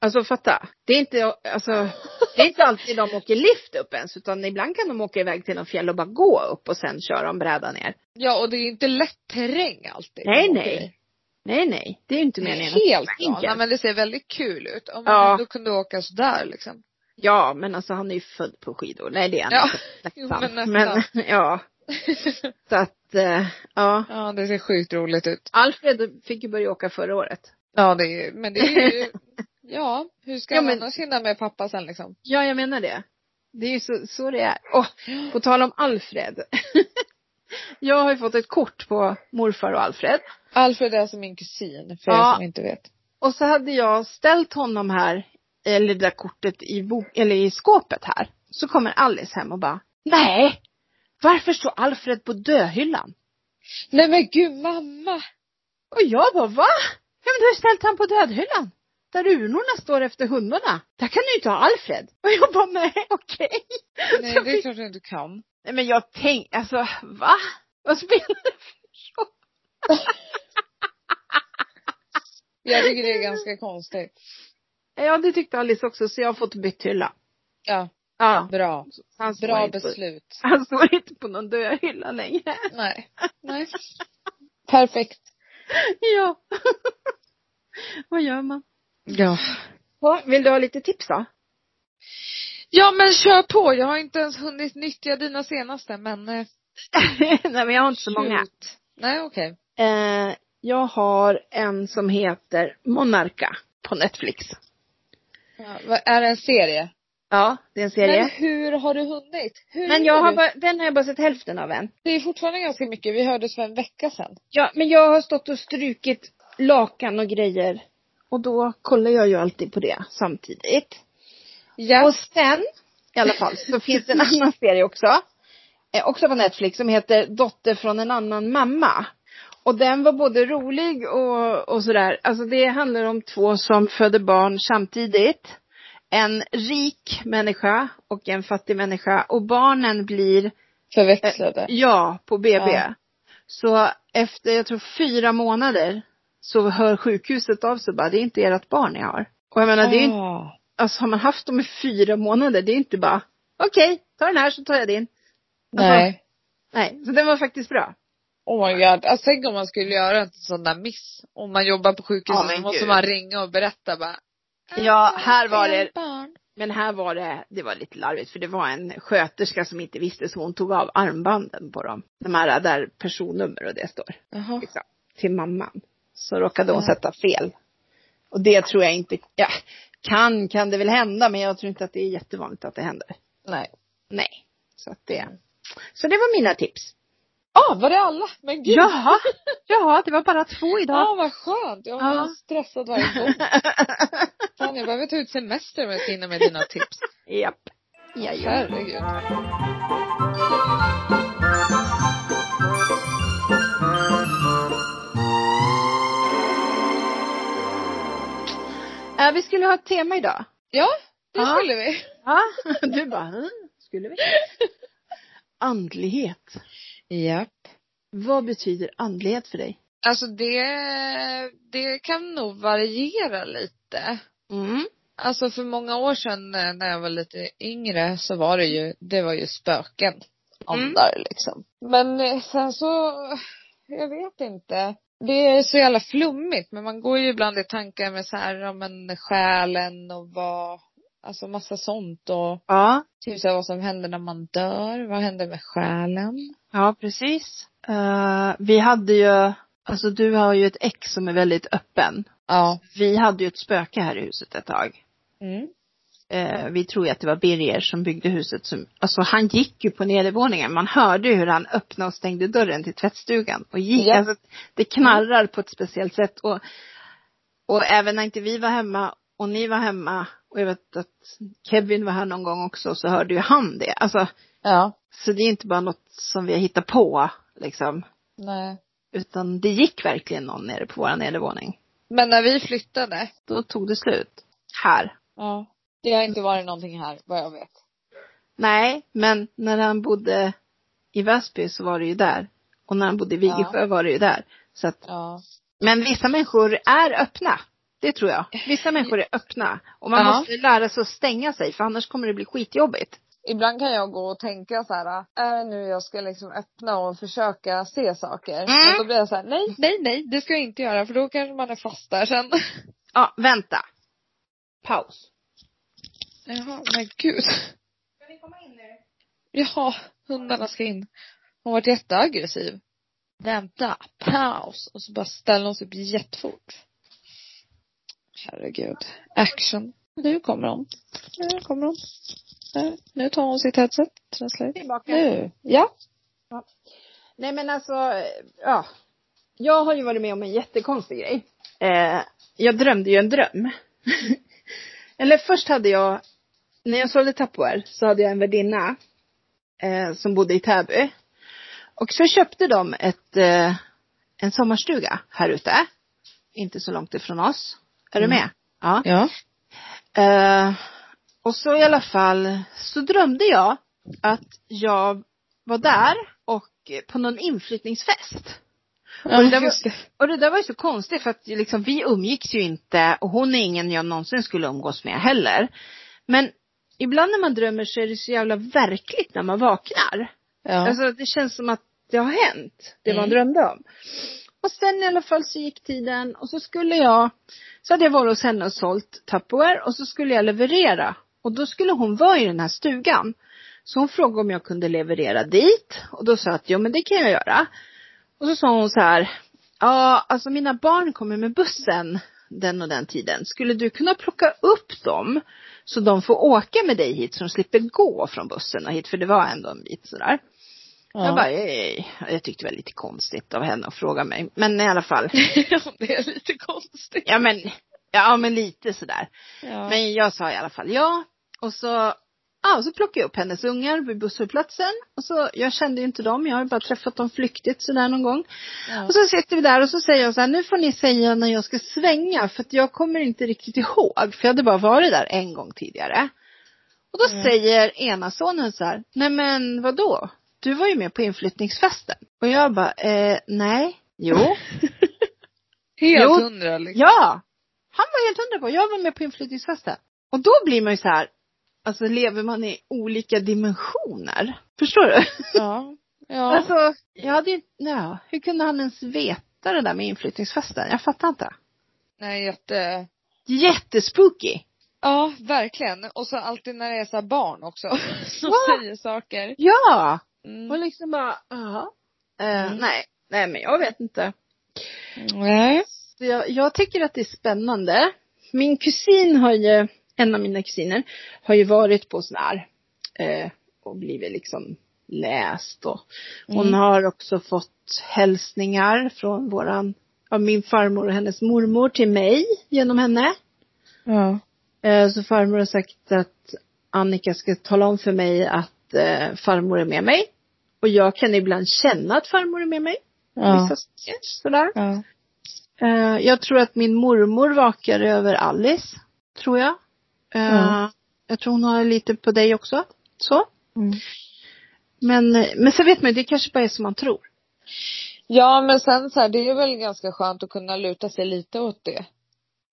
Speaker 2: Alltså fatta, det är inte, alltså, det är inte alltid de åker lift upp ens utan ibland kan de åka iväg till någon fjäll och bara gå upp och sen köra om brädan ner.
Speaker 1: Ja och det är ju inte lätt terräng alltid.
Speaker 2: Nej,
Speaker 1: Okej.
Speaker 2: nej. Nej, nej. Det är ju inte
Speaker 1: Det
Speaker 2: meningen.
Speaker 1: är helt
Speaker 2: att-
Speaker 1: bra. Nej, men det ser väldigt kul ut. Om man
Speaker 2: Ja.
Speaker 1: ändå kunde åka sådär liksom.
Speaker 2: Ja, men alltså han är ju född på skidor. Nej, det är han
Speaker 1: Ja.
Speaker 2: inte.
Speaker 1: Jo,
Speaker 2: Nästan.
Speaker 1: men nästan.
Speaker 2: Men, ja. Så att, eh, ja.
Speaker 1: Ja, det ser sjukt roligt ut.
Speaker 2: Alfred fick ju börja åka förra året.
Speaker 1: Ja, det är ju, men det är ju, ja, hur ska
Speaker 2: Ja,
Speaker 1: han
Speaker 2: men-
Speaker 1: annars hinna med pappa sen liksom?
Speaker 2: Ja, jag menar det. Det är ju så, så det är. Åh, på tal om Alfred. jag har ju fått ett kort på morfar och Alfred.
Speaker 1: Alfred är alltså min kusin, för
Speaker 2: Ja.
Speaker 1: er som inte vet.
Speaker 2: Och så hade jag ställt honom här, eller det där kortet i, bok, eller i skåpet här. Så kommer Alice hem och bara, nej! Varför står Alfred på döhyllan?
Speaker 1: Nej men gud mamma!
Speaker 2: Och jag bara, va? Ja, men du har ju ställt han på dödhyllan. Där urnorna står efter hundarna. Där kan du ju inte ha Alfred. Och jag bara, nej okej.
Speaker 1: Nej
Speaker 2: Så
Speaker 1: det är
Speaker 2: vi-
Speaker 1: klart du inte kan.
Speaker 2: Nej men jag tänkte, alltså va? Vad spelar det för roll?
Speaker 1: Jag tycker det är ganska konstigt.
Speaker 2: Ja det tyckte Alice också så jag har fått bytt hylla.
Speaker 1: Ja,
Speaker 2: Ja.
Speaker 1: bra.
Speaker 2: Han står
Speaker 1: Bra
Speaker 2: inte på-
Speaker 1: beslut.
Speaker 2: Han står inte på någon döhylla längre.
Speaker 1: Nej. Nej. Perfekt.
Speaker 2: Ja. Vad gör man?
Speaker 1: Ja.
Speaker 2: Ja, vill du ha lite tips då?
Speaker 1: Ja men kör på. Jag har inte ens hunnit nyttja dina senaste men. eh,
Speaker 2: Nej men jag har inte så många.
Speaker 1: shoot. Mm. Nej okej.
Speaker 2: Eh, jag har en som heter Monarka på Netflix.
Speaker 1: Ja, vad- är det en serie?
Speaker 2: Ja, det är en serie.
Speaker 1: Men hur har du hunnit? Hur
Speaker 2: Men jag
Speaker 1: hinner
Speaker 2: har
Speaker 1: du?
Speaker 2: bara, den har jag bara sett hälften av än.
Speaker 1: Det är fortfarande ganska mycket. Vi hördes för en vecka sedan.
Speaker 2: Ja, men jag har stått och strukit lakan och grejer. Och då kollar jag ju alltid på det samtidigt.
Speaker 1: Ja.
Speaker 2: Och sen, i alla fall, så finns det en annan serie också. Eh, också på Netflix som heter Dotter från en annan mamma. Och den var både rolig och, och sådär. Alltså det handlar om två som föder barn samtidigt. En rik människa och en fattig människa. Och barnen blir
Speaker 1: Förväxlade.
Speaker 2: Eh, Ja, på BB.
Speaker 1: Ja.
Speaker 2: Så efter, jag tror fyra månader, så hör sjukhuset av sig och bara, det är inte ert barn ni har. Och jag menar, det är inte,
Speaker 1: Ah.
Speaker 2: alltså har man haft dem i fyra månader, det är inte bara, okej, ta den här så tar jag din.
Speaker 1: Nej.
Speaker 2: Nej, så den var faktiskt bra.
Speaker 1: Oh my god. Alltså tänk om man skulle göra en sån där miss. Om man jobbar på sjukhus
Speaker 2: Ja,
Speaker 1: så
Speaker 2: men
Speaker 1: måste
Speaker 2: gud.
Speaker 1: man ringa och berätta bara.
Speaker 2: Ja, här var
Speaker 1: "Jag har
Speaker 2: det-
Speaker 1: barn."
Speaker 2: Men här var det, det var lite larvigt för det var en sköterska som inte visste så hon tog av armbanden på dem. De här där personnummer och det står.
Speaker 1: Jaha.
Speaker 2: liksom, till mamman. Så råkade hon
Speaker 1: Ja.
Speaker 2: sätta fel. Och det tror jag inte, ja, kan, kan det väl hända, men jag tror inte att det är jättevanligt att det händer.
Speaker 1: Nej.
Speaker 2: Nej. Så att det, så det var mina tips.
Speaker 1: Ah, var det alla? Men gud.
Speaker 2: Jaha, jaha, det var bara två
Speaker 1: Ja,
Speaker 2: idag.
Speaker 1: vad skönt. Jag
Speaker 2: Ja.
Speaker 1: var stressad varje gång. Fan, jag behöver ta ut semester om jag ska hinna med dina tips.
Speaker 2: Japp. Ja, ja.
Speaker 1: Herregud.
Speaker 2: Äh, vi skulle ha ett tema idag.
Speaker 1: Ja, det
Speaker 2: Ja.
Speaker 1: skulle vi.
Speaker 2: Ja. Du bara, "Hm, skulle vi? Andlighet.
Speaker 1: Ja.
Speaker 2: Vad betyder andlighet för dig?
Speaker 1: Alltså det, det kan nog variera lite.
Speaker 2: Mm.
Speaker 1: Alltså för många år sedan eh, när jag var lite yngre så var det ju, det var ju spöken.
Speaker 2: Mm.
Speaker 1: Andar liksom. Men eh, sen så, jag vet inte. Det är så jävla flummigt men man går ju ibland i tankar med så här, om en själen och vad, alltså massa sånt och
Speaker 2: Ja.
Speaker 1: typ så här, vad som händer när man dör, vad händer med själen?
Speaker 2: Ja, precis. Eh, vi hade ju, alltså du har ju ett ex som är väldigt öppen.
Speaker 1: Ja.
Speaker 2: Vi hade ju ett spöke här i huset ett tag.
Speaker 1: Mm.
Speaker 2: Eh, vi tror ju att det var Birger som byggde huset som, alltså han gick ju på nedervåningen. Man hörde ju hur han öppnade och stängde dörren till tvättstugan och gick.
Speaker 1: Ja.
Speaker 2: Alltså, det knarrar på ett speciellt sätt och, och även när inte vi var hemma och ni var hemma och jag vet att Kevin var här någon gång också så hörde ju han det. Alltså,
Speaker 1: Ja.
Speaker 2: så det är inte bara något som vi har hittat på liksom.
Speaker 1: Nej.
Speaker 2: Utan det gick verkligen någon nere på vår nedervåning.
Speaker 1: Men när vi flyttade,
Speaker 2: Då tog det slut. Här.
Speaker 1: ja. Det har inte varit någonting här vad jag vet.
Speaker 2: Nej, men när han bodde i Väsby så var det ju där. Och när han bodde i Vigesjö var det ju där. Så att,
Speaker 1: Ja.
Speaker 2: men vissa människor är öppna. Det tror jag. Vissa människor är öppna. Och man
Speaker 1: Ja.
Speaker 2: måste ju lära sig att stänga sig för annars kommer det bli skitjobbigt.
Speaker 1: Ibland kan jag gå och tänka så här, är det nu jag ska liksom öppna och försöka se saker?
Speaker 2: Mm.
Speaker 1: Men då blir jag så här, nej, nej, nej, det ska jag inte göra för då kanske man är fast där sen.
Speaker 2: Ja, vänta. Paus.
Speaker 1: Jaha, men gud.
Speaker 2: Ska vi komma in nu?
Speaker 1: Jaha, hundarna ska in. Hon varit jätteaggressiv. Vänta, paus. Och så bara ställer hon sig upp jättefort. Herregud. Action. Nu kommer hon. Nu kommer hon. Nu- Nu tar hon sitt headset. Translate.
Speaker 2: Tillbaka.
Speaker 1: Nu. Ja.
Speaker 2: Nej men alltså, eh, ja. Jag har ju varit med om en jättekonstig grej. Eh, jag drömde ju en dröm. Eller först hade jag, när jag sålde Tupperware så hade jag en värdinna eh, som bodde i Täby. Och så köpte de ett, eh, en sommarstuga här ute. Inte så långt ifrån oss. Är du
Speaker 1: Mm.
Speaker 2: med? Ja.
Speaker 1: Ja.
Speaker 2: Eh, och så i alla fall så drömde jag att jag var där och eh, på någon inflyttningsfest. det
Speaker 1: Ja,
Speaker 2: där var-
Speaker 1: just det.
Speaker 2: Och det där var ju så konstigt för att liksom, vi umgicks ju inte och hon är ingen jag någonsin skulle umgås med heller. Men ibland när man drömmer så är det så jävla verkligt när man vaknar.
Speaker 1: Ja.
Speaker 2: Alltså det känns som att det har hänt, det man
Speaker 1: Mm.
Speaker 2: drömde om. Och sen i alla fall så gick tiden och så skulle jag, så hade jag varit hos henne och sålt Tupperware och så skulle jag leverera. Och då skulle hon vara i den här stugan. Så hon frågade om jag kunde leverera dit och då sa jag att jo men det kan jag göra. Och så sa hon så här, ja alltså mina barn kommer med bussen den och den tiden. Skulle du kunna plocka upp dem så de får åka med dig hit så de slipper gå från bussen och hit för det var ändå en bit sådär.
Speaker 1: ja.
Speaker 2: Jag bara, ej. jag tyckte det var lite konstigt av henne att fråga mig. Men i alla fall.
Speaker 1: det är lite konstigt.
Speaker 2: Ja men, ja men lite sådär.
Speaker 1: Ja.
Speaker 2: Men jag sa i alla fall ja. Och så, ja och så plockade jag upp hennes ungar vid busshållplatsen. Och så, jag kände ju inte dem, jag har ju bara träffat dem flyktigt sådär någon gång.
Speaker 1: ja.
Speaker 2: Och så sitter vi där och så säger jag så här, nu får ni säga när jag ska svänga för att jag kommer inte riktigt ihåg. För jag hade bara varit där en gång tidigare. Och då
Speaker 1: Mm.
Speaker 2: säger ena sonen så här, nej men vadå? Du var ju med på inflyttningsfesten. Och jag bara, eh, nej, jo,
Speaker 1: Helt
Speaker 2: Jo.
Speaker 1: hundra liksom.
Speaker 2: ja. Han var helt hundra på, jag var med på inflyttningsfesten. Och då blir man ju så här, alltså lever man i olika dimensioner? Förstår du?
Speaker 1: Ja. Ja.
Speaker 2: Alltså, jag hade ju, ja, hur kunde han ens veta det där med inflyttningsfesten? Jag fattar inte.
Speaker 1: Nej, jätte...
Speaker 2: Jättespooky.
Speaker 1: Ja, verkligen. Och så alltid när det är så här barn också som
Speaker 2: Ja.
Speaker 1: säger saker.
Speaker 2: Ja! Och
Speaker 1: Mm.
Speaker 2: liksom bara, jaha.
Speaker 1: Mm.
Speaker 2: nej, nej men jag vet inte.
Speaker 1: Nej.
Speaker 2: Så jag, jag tycker att det är spännande. Min kusin har ju, en av mina kusiner, har ju varit på sån här eh, och blivit liksom läst och hon
Speaker 1: Mm.
Speaker 2: har också fått hälsningar från våran, av min farmor och hennes mormor till mig genom henne.
Speaker 1: Ja.
Speaker 2: Eh, Så farmor har sagt att Annika ska tala om för mig att eh, farmor är med mig. Och jag kan ibland känna att farmor är med mig.
Speaker 1: Ja.
Speaker 2: Vissa saker, sådär.
Speaker 1: Ja.
Speaker 2: Eh, Jag tror att min mormor vakar över Alice. Tror jag. Eh,
Speaker 1: Ja.
Speaker 2: Jag tror hon har lite på dig också. Så.
Speaker 1: Mm.
Speaker 2: Men, eh, men så vet man ju, det kanske bara är som man tror.
Speaker 1: ja, men sen så här, det är väl ganska skönt att kunna luta sig lite åt det.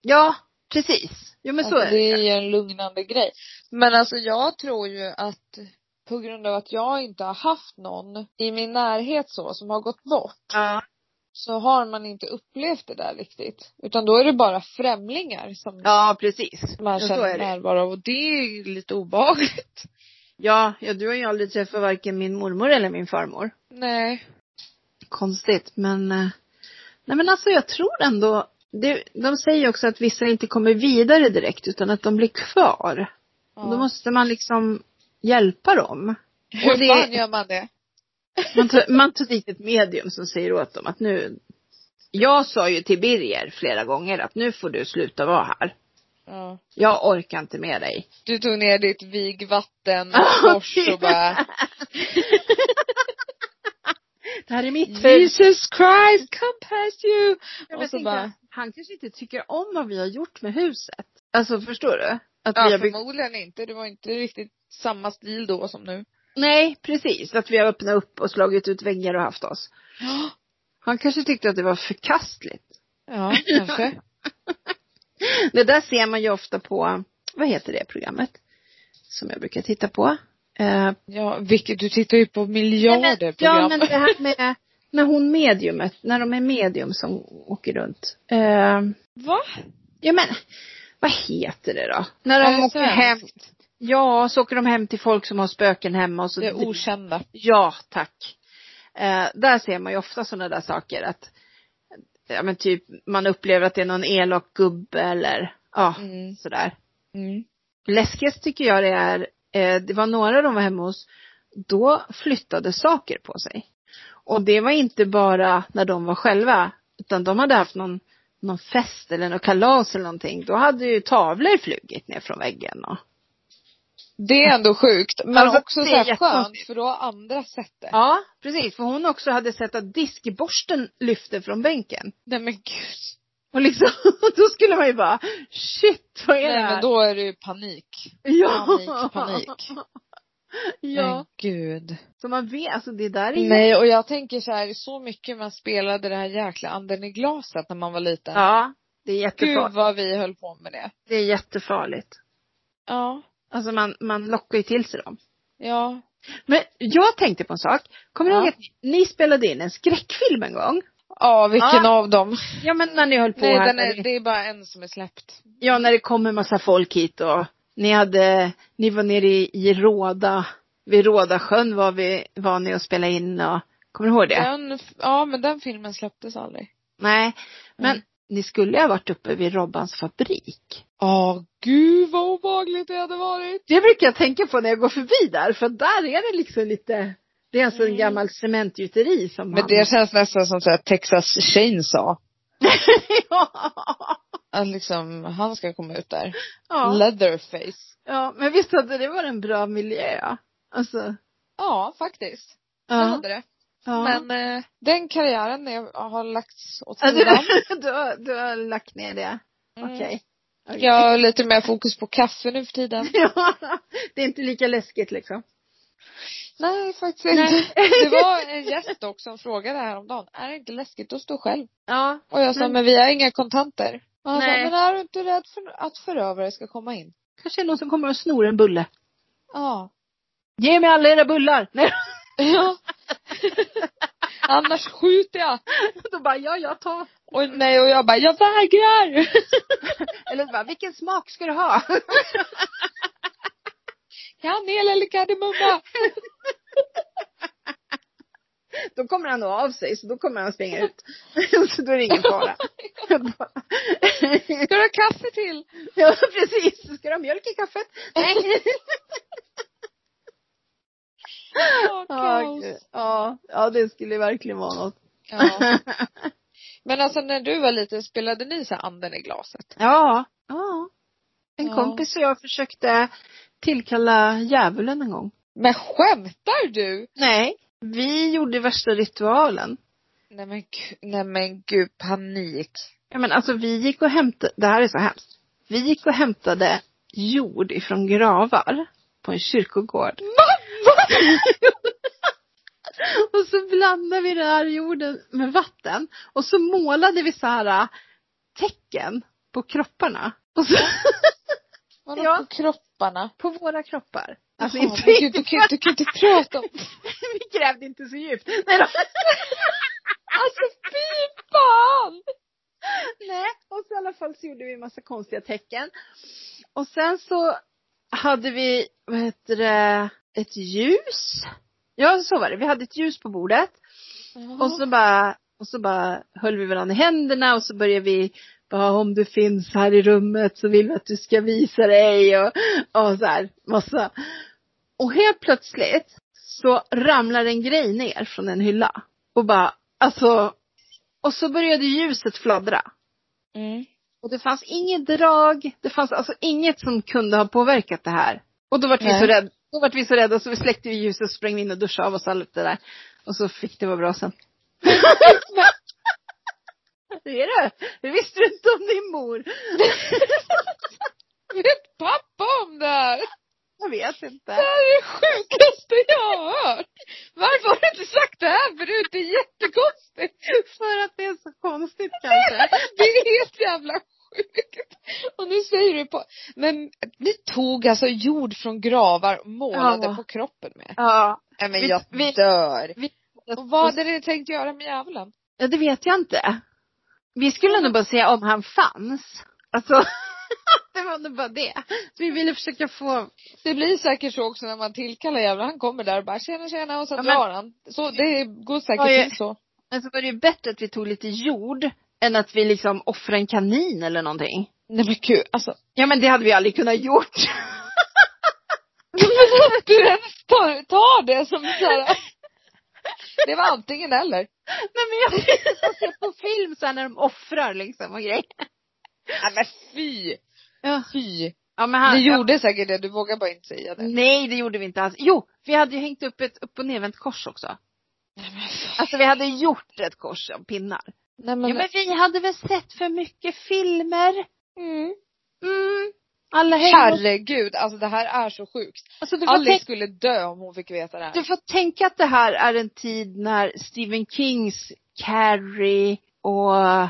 Speaker 2: Ja, precis. Jo men så
Speaker 1: alltså,
Speaker 2: är det.
Speaker 1: är ju en lugnande grej. Men alltså jag tror ju att på grund av att jag inte har haft någon i min närhet så som har gått bort
Speaker 2: Ja.
Speaker 1: så har man inte upplevt det där riktigt. Utan då är det bara främlingar som
Speaker 2: Ja, precis.
Speaker 1: man
Speaker 2: Ja, så är
Speaker 1: känner
Speaker 2: det.
Speaker 1: närvaro av och det är ju lite obehagligt.
Speaker 2: Ja, ja, du har ju aldrig träffat varken min mormor eller min farmor.
Speaker 1: Nej.
Speaker 2: konstigt men eh, nej men alltså jag tror ändå det, de säger också att vissa inte kommer vidare direkt utan att de blir kvar.
Speaker 1: Ja.
Speaker 2: Och Då måste man liksom hjälpa dem.
Speaker 1: Hur
Speaker 2: och det-
Speaker 1: fan gör man det?
Speaker 2: Man tar, man tar dit ett medium som säger åt dem att nu jag sa ju till Birger flera gånger att nu får du sluta vara här.
Speaker 1: Ja.
Speaker 2: Jag orkar inte med dig.
Speaker 1: Du tog ner ditt vigvatten
Speaker 2: Ja,
Speaker 1: kors och bara
Speaker 2: Det här är mitt
Speaker 1: Jesus Christ come past you.
Speaker 2: Ja, men
Speaker 1: och så
Speaker 2: tänk
Speaker 1: bara
Speaker 2: att Han kanske inte tycker om vad vi har gjort med huset. Alltså förstår du? Att vi
Speaker 1: Ja,
Speaker 2: har byggt
Speaker 1: förmodligen inte. Det var inte riktigt samma stil då som nu.
Speaker 2: Nej, precis. Att vi har öppnat upp och slagit ut väggar och haft oss. Han kanske tyckte att det var förkastligt.
Speaker 1: Ja, kanske.
Speaker 2: Det där ser man ju ofta på, vad heter det programmet? Som jag brukar titta på. Eh,
Speaker 1: Ja, vilket du tittar ju på miljarder
Speaker 2: ja,
Speaker 1: program.
Speaker 2: men det här med, när hon mediumet, när de är medium som åker runt. Eh,
Speaker 1: Va?
Speaker 2: ja men, vad heter det då? När de
Speaker 1: Är det
Speaker 2: åker
Speaker 1: svenskt?
Speaker 2: hem. Ja, så åker de hem till folk som har spöken hemma och så
Speaker 1: Det är okända.
Speaker 2: Ja, tack. Eh, där ser man ju ofta sådana där saker att ja, men typ man upplever att det är någon elak gubbe eller ja,
Speaker 1: Mm.
Speaker 2: sådär.
Speaker 1: Mm.
Speaker 2: Läskigast tycker jag det är, eh, det var några de var hemma hos, då flyttade saker på sig. Och det var inte bara när de var själva, utan de hade haft någon, någon fest eller något kalas eller någonting. Då hade ju tavlor flugit ner från väggen och
Speaker 1: Det är ändå sjukt, men
Speaker 2: Alltså,
Speaker 1: också
Speaker 2: det
Speaker 1: så
Speaker 2: är
Speaker 1: här skönt
Speaker 2: jättekonstigt.
Speaker 1: för då har andra sett det.
Speaker 2: Ja, precis. För hon också hade sett att diskborsten lyfte från bänken.
Speaker 1: Nej men gud.
Speaker 2: Och liksom, då skulle man ju bara, shit vad är det
Speaker 1: Nej
Speaker 2: här?
Speaker 1: men då är det ju panik.
Speaker 2: ja.
Speaker 1: Panik, panik.
Speaker 2: Ja.
Speaker 1: Men gud.
Speaker 2: Så man vet, alltså det där är ju...
Speaker 1: Nej och jag tänker så här, så mycket man spelade det här jäkla anden i glaset när man var liten.
Speaker 2: Ja, det är
Speaker 1: gud
Speaker 2: jättefarligt.
Speaker 1: vad vi höll på med det.
Speaker 2: Det är jättefarligt.
Speaker 1: Ja.
Speaker 2: Alltså man, man lockar ju till sig dem.
Speaker 1: Ja.
Speaker 2: Men jag tänkte på en sak. Kommer ni
Speaker 1: Ja.
Speaker 2: ihåg att ni spelade in en skräckfilm en gång?
Speaker 1: Ja, vilken av dem?
Speaker 2: Ja men när ni höll på
Speaker 1: Nej,
Speaker 2: här.
Speaker 1: den
Speaker 2: när
Speaker 1: är,
Speaker 2: ni-
Speaker 1: det är bara en som är släppt.
Speaker 2: Ja när det kom en massa folk hit och ni hade, ni var nere i, i Råda, vid Rådasjön var vi, var ni och spelade in och, kommer ni ihåg det?
Speaker 1: Den, ja, men den filmen släpptes aldrig.
Speaker 2: Nej. Men
Speaker 1: Mm.
Speaker 2: ni skulle ha varit uppe vid Robbans fabrik.
Speaker 1: Ja, gud vad obehagligt det hade varit.
Speaker 2: Det brukar jag tänka på när jag går förbi där, för där är det liksom lite, det är alltså en
Speaker 1: Mm.
Speaker 2: gammal cementgjuteri som
Speaker 1: Men det känns nästan som så här Texas Chainsaw.
Speaker 2: ja.
Speaker 1: Att liksom, han ska komma ut där.
Speaker 2: Ja.
Speaker 1: Leatherface.
Speaker 2: ja, men visst hade det varit en bra miljö? Alltså.
Speaker 1: Ja, faktiskt.
Speaker 2: Ja.
Speaker 1: Det hade det.
Speaker 2: ja.
Speaker 1: Men eh, den karriären är, har lagts åt
Speaker 2: Ja,
Speaker 1: sidan.
Speaker 2: du, du, har, du har lagt ner det?
Speaker 1: Mm.
Speaker 2: Okej. Okej.
Speaker 1: Jag har lite mer fokus på kaffe nu för tiden.
Speaker 2: ja. Det är inte lika läskigt liksom.
Speaker 1: Nej, faktiskt
Speaker 2: Nej.
Speaker 1: inte. Det var en gäst dock som frågade häromdagen, är det inte läskigt att stå själv?
Speaker 2: Ja.
Speaker 1: Och jag sa,
Speaker 2: Men-
Speaker 1: men vi har inga kontanter. Och han sa,
Speaker 2: Nej.
Speaker 1: men är du inte rädd för att förövare ska komma in?
Speaker 2: Kanske är någon som kommer och snor en bulle.
Speaker 1: Ja.
Speaker 2: Ge mig alla era bullar! Nej.
Speaker 1: Ja. Annars skjuter jag.
Speaker 2: Då bara, ja, jag tar.
Speaker 1: Och nej, och jag bara, jag vägrar!
Speaker 2: Eller bara, vilken smak ska du ha?
Speaker 1: Kanel eller kardemumma?
Speaker 2: Då kommer han nog av sig, så då kommer han springa ut. så då är det ingen fara.
Speaker 1: Ska du ha kaffe till?
Speaker 2: ja, precis. Ska du ha mjölk i kaffet? Nej.
Speaker 1: Åh,
Speaker 2: Ja,
Speaker 1: kaos.
Speaker 2: gud. ja, ja, det skulle verkligen vara något.
Speaker 1: Ja. Men alltså när du var liten, spelade ni så här anden i glaset?
Speaker 2: Ja. ja. En
Speaker 1: Ja.
Speaker 2: kompis och jag försökte tillkalla djävulen en gång.
Speaker 1: Men skämtar du?
Speaker 2: Nej. Vi gjorde värsta ritualen.
Speaker 1: Nej men, gu- nej men gud, panik.
Speaker 2: Ja men alltså vi gick och hämtade, det här är så hemskt. Vi gick och hämtade jord ifrån gravar på en kyrkogård. och så blandade vi den här jorden med vatten och så målade vi så här äh, tecken på kropparna. Och så,
Speaker 1: Vadå
Speaker 2: Ja.
Speaker 1: på kropparna?
Speaker 2: på våra kroppar. Alltså
Speaker 1: Jaha,
Speaker 2: inte,
Speaker 1: men gud, du, kan, du kan inte prata om...
Speaker 2: vi grävde inte så djupt. Nej då.
Speaker 1: Alltså fy fan!
Speaker 2: Nej, och så i alla fall så gjorde vi en massa konstiga tecken. Och sen så hade vi, vad heter det, ett ljus. Ja, så var det. Vi hade ett ljus på bordet.
Speaker 1: Mm.
Speaker 2: Och så bara, och så bara höll vi varandra i händerna och så började vi bara om du finns här i rummet så vill vi att du ska visa dig och, och så här massa. Och helt plötsligt så ramlar en grej ner från en hylla och bara, alltså, och så började ljuset fladdra.
Speaker 1: Mm.
Speaker 2: Och det fanns inget drag, det fanns alltså inget som kunde ha påverkat det här. Och då vart vi
Speaker 1: Nej.
Speaker 2: så rädda, då vart vi så rädda så vi släckte vi ljuset och sprang in och duschade av oss allt det där. Och så fick det vara bra sen. Det är det. Det visste du inte om din mor.
Speaker 1: Vet pappa om det här?
Speaker 2: Jag vet
Speaker 1: Det
Speaker 2: inte.
Speaker 1: här är det sjukaste jag har hört! Varför har du inte sagt det här förut? Det är jättekonstigt!
Speaker 2: För att det är så konstigt kanske.
Speaker 1: Det är helt jävla sjukt! Och nu säger du på... Men ni tog alltså jord från gravar och målade
Speaker 2: Ja.
Speaker 1: på kroppen med?
Speaker 2: Ja.
Speaker 1: Nej men
Speaker 2: Vi-
Speaker 1: jag
Speaker 2: vi-
Speaker 1: dör! Och vad
Speaker 2: Och,
Speaker 1: hade ni tänkt göra med djävulen?
Speaker 2: ja, det vet jag inte. Vi skulle nog bara säga om han fanns. Alltså, det var nog bara det. Vi ville försöka få
Speaker 1: Det blir säkert så också när man tillkallar djävulen. Han kommer där och bara tjena tjena och så
Speaker 2: Ja, men-
Speaker 1: drar han. Så det går säkert
Speaker 2: Oj.
Speaker 1: till så.
Speaker 2: Men så var det ju bättre att vi tog lite jord än att vi liksom offrade en kanin eller någonting.
Speaker 1: Nej men gud alltså.
Speaker 2: Ja men det hade vi aldrig kunnat gjort.
Speaker 1: Du ens tar, tar det som så här. Det var antingen eller.
Speaker 2: Nej men jag jag ser på film så här när de offrar liksom och grejer.
Speaker 1: Nej men fy!
Speaker 2: Ja.
Speaker 1: Fy!
Speaker 2: Ja men
Speaker 1: Ni
Speaker 2: han,
Speaker 1: gjorde säkert det, du vågar bara inte säga det.
Speaker 2: Nej det gjorde vi inte alls. Jo, vi hade ju hängt upp ett upp och nervänt kors också.
Speaker 1: Nej men, fan.
Speaker 2: Alltså vi hade gjort ett kors av pinnar.
Speaker 1: Nej, men,
Speaker 2: Ja men vi hade väl sett för mycket filmer.
Speaker 1: mm.
Speaker 2: Mm. Alla hänger
Speaker 1: Herregud, alltså det här är så sjukt.
Speaker 2: Alltså du får
Speaker 1: Alice
Speaker 2: tänka
Speaker 1: skulle dö om hon fick veta det här.
Speaker 2: Du får tänka att det här är en tid när Stephen Kings Carrie och eh,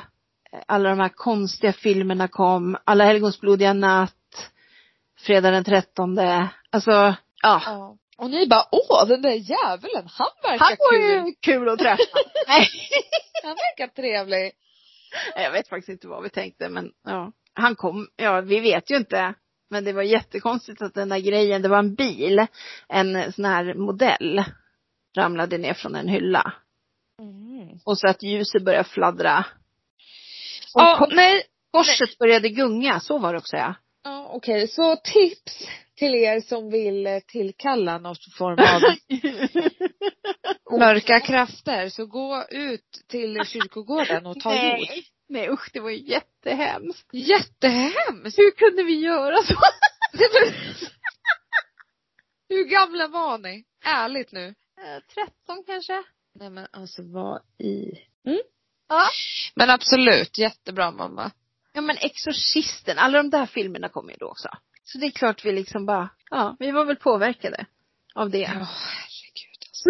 Speaker 2: alla de här konstiga filmerna kom. Alla helgons blodiga natt. fredag den 13. Alltså, ja.
Speaker 1: Ja. Och ni bara, åh den där djävulen, han verkar
Speaker 2: Han var
Speaker 1: kul.
Speaker 2: ju kul att träffa. Nej,
Speaker 1: Han verkar trevlig.
Speaker 2: jag vet faktiskt inte vad vi tänkte men ja. Han kom, ja vi vet ju inte. Men det var jättekonstigt att den där grejen, det var en bil, en sån här modell ramlade ner från en hylla.
Speaker 1: Mm.
Speaker 2: Och så att ljuset började fladdra. Och
Speaker 1: Ja,
Speaker 2: kors-
Speaker 1: nej.
Speaker 2: korset började gunga, så var det också ja.
Speaker 1: Ja, okej, så tips till er som vill eh, tillkalla något form av mörka krafter. Så gå ut till kyrkogården och ta jord.
Speaker 2: Nej. Nej usch, det var ju jättehemskt.
Speaker 1: Jättehemskt!
Speaker 2: Hur kunde vi göra så?
Speaker 1: Nej, men- Hur gamla var ni? Ärligt nu.
Speaker 2: Eh, 13 kanske?
Speaker 1: Nej men alltså vad i...
Speaker 2: Ja.
Speaker 1: Men absolut, jättebra mamma.
Speaker 2: Ja men Exorcisten, alla de där filmerna kom ju då också. Så det är klart vi liksom bara, ja, vi var väl påverkade av det.
Speaker 1: Ja, herregud alltså.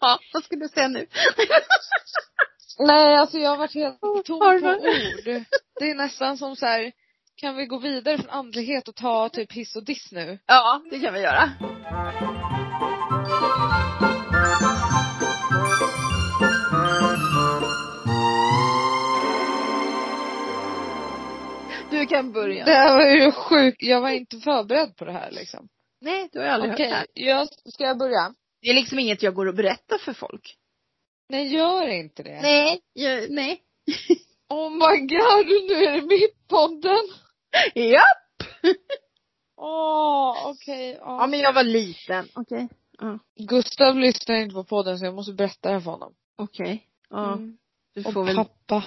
Speaker 2: Ja, vad skulle du säga nu?
Speaker 1: Nej alltså jag har varit helt
Speaker 2: Åh,
Speaker 1: tom på
Speaker 2: Barbara.
Speaker 1: ord. Det är nästan som så här. kan vi gå vidare från andlighet och ta typ hiss och diss nu?
Speaker 2: Ja, det kan vi göra. Du kan börja.
Speaker 1: Det här var ju sjukt, jag var inte förberedd på det här liksom.
Speaker 2: Nej, du har jag aldrig
Speaker 1: Okej,
Speaker 2: hört det här.
Speaker 1: jag, ska jag börja?
Speaker 2: Det är liksom inget jag går och berättar för folk.
Speaker 1: Nej gör inte det.
Speaker 2: Nej, jag, nej.
Speaker 1: Oh my god, nu är det mitt podden.
Speaker 2: Ja.
Speaker 1: Åh, okej. ja.
Speaker 2: ja, men jag var liten. Okej.
Speaker 1: Gustav lyssnar inte på podden så jag måste berätta det här för honom.
Speaker 2: Okej. Ja,
Speaker 1: Mm.
Speaker 2: du
Speaker 1: Och
Speaker 2: får väl...
Speaker 1: pappa.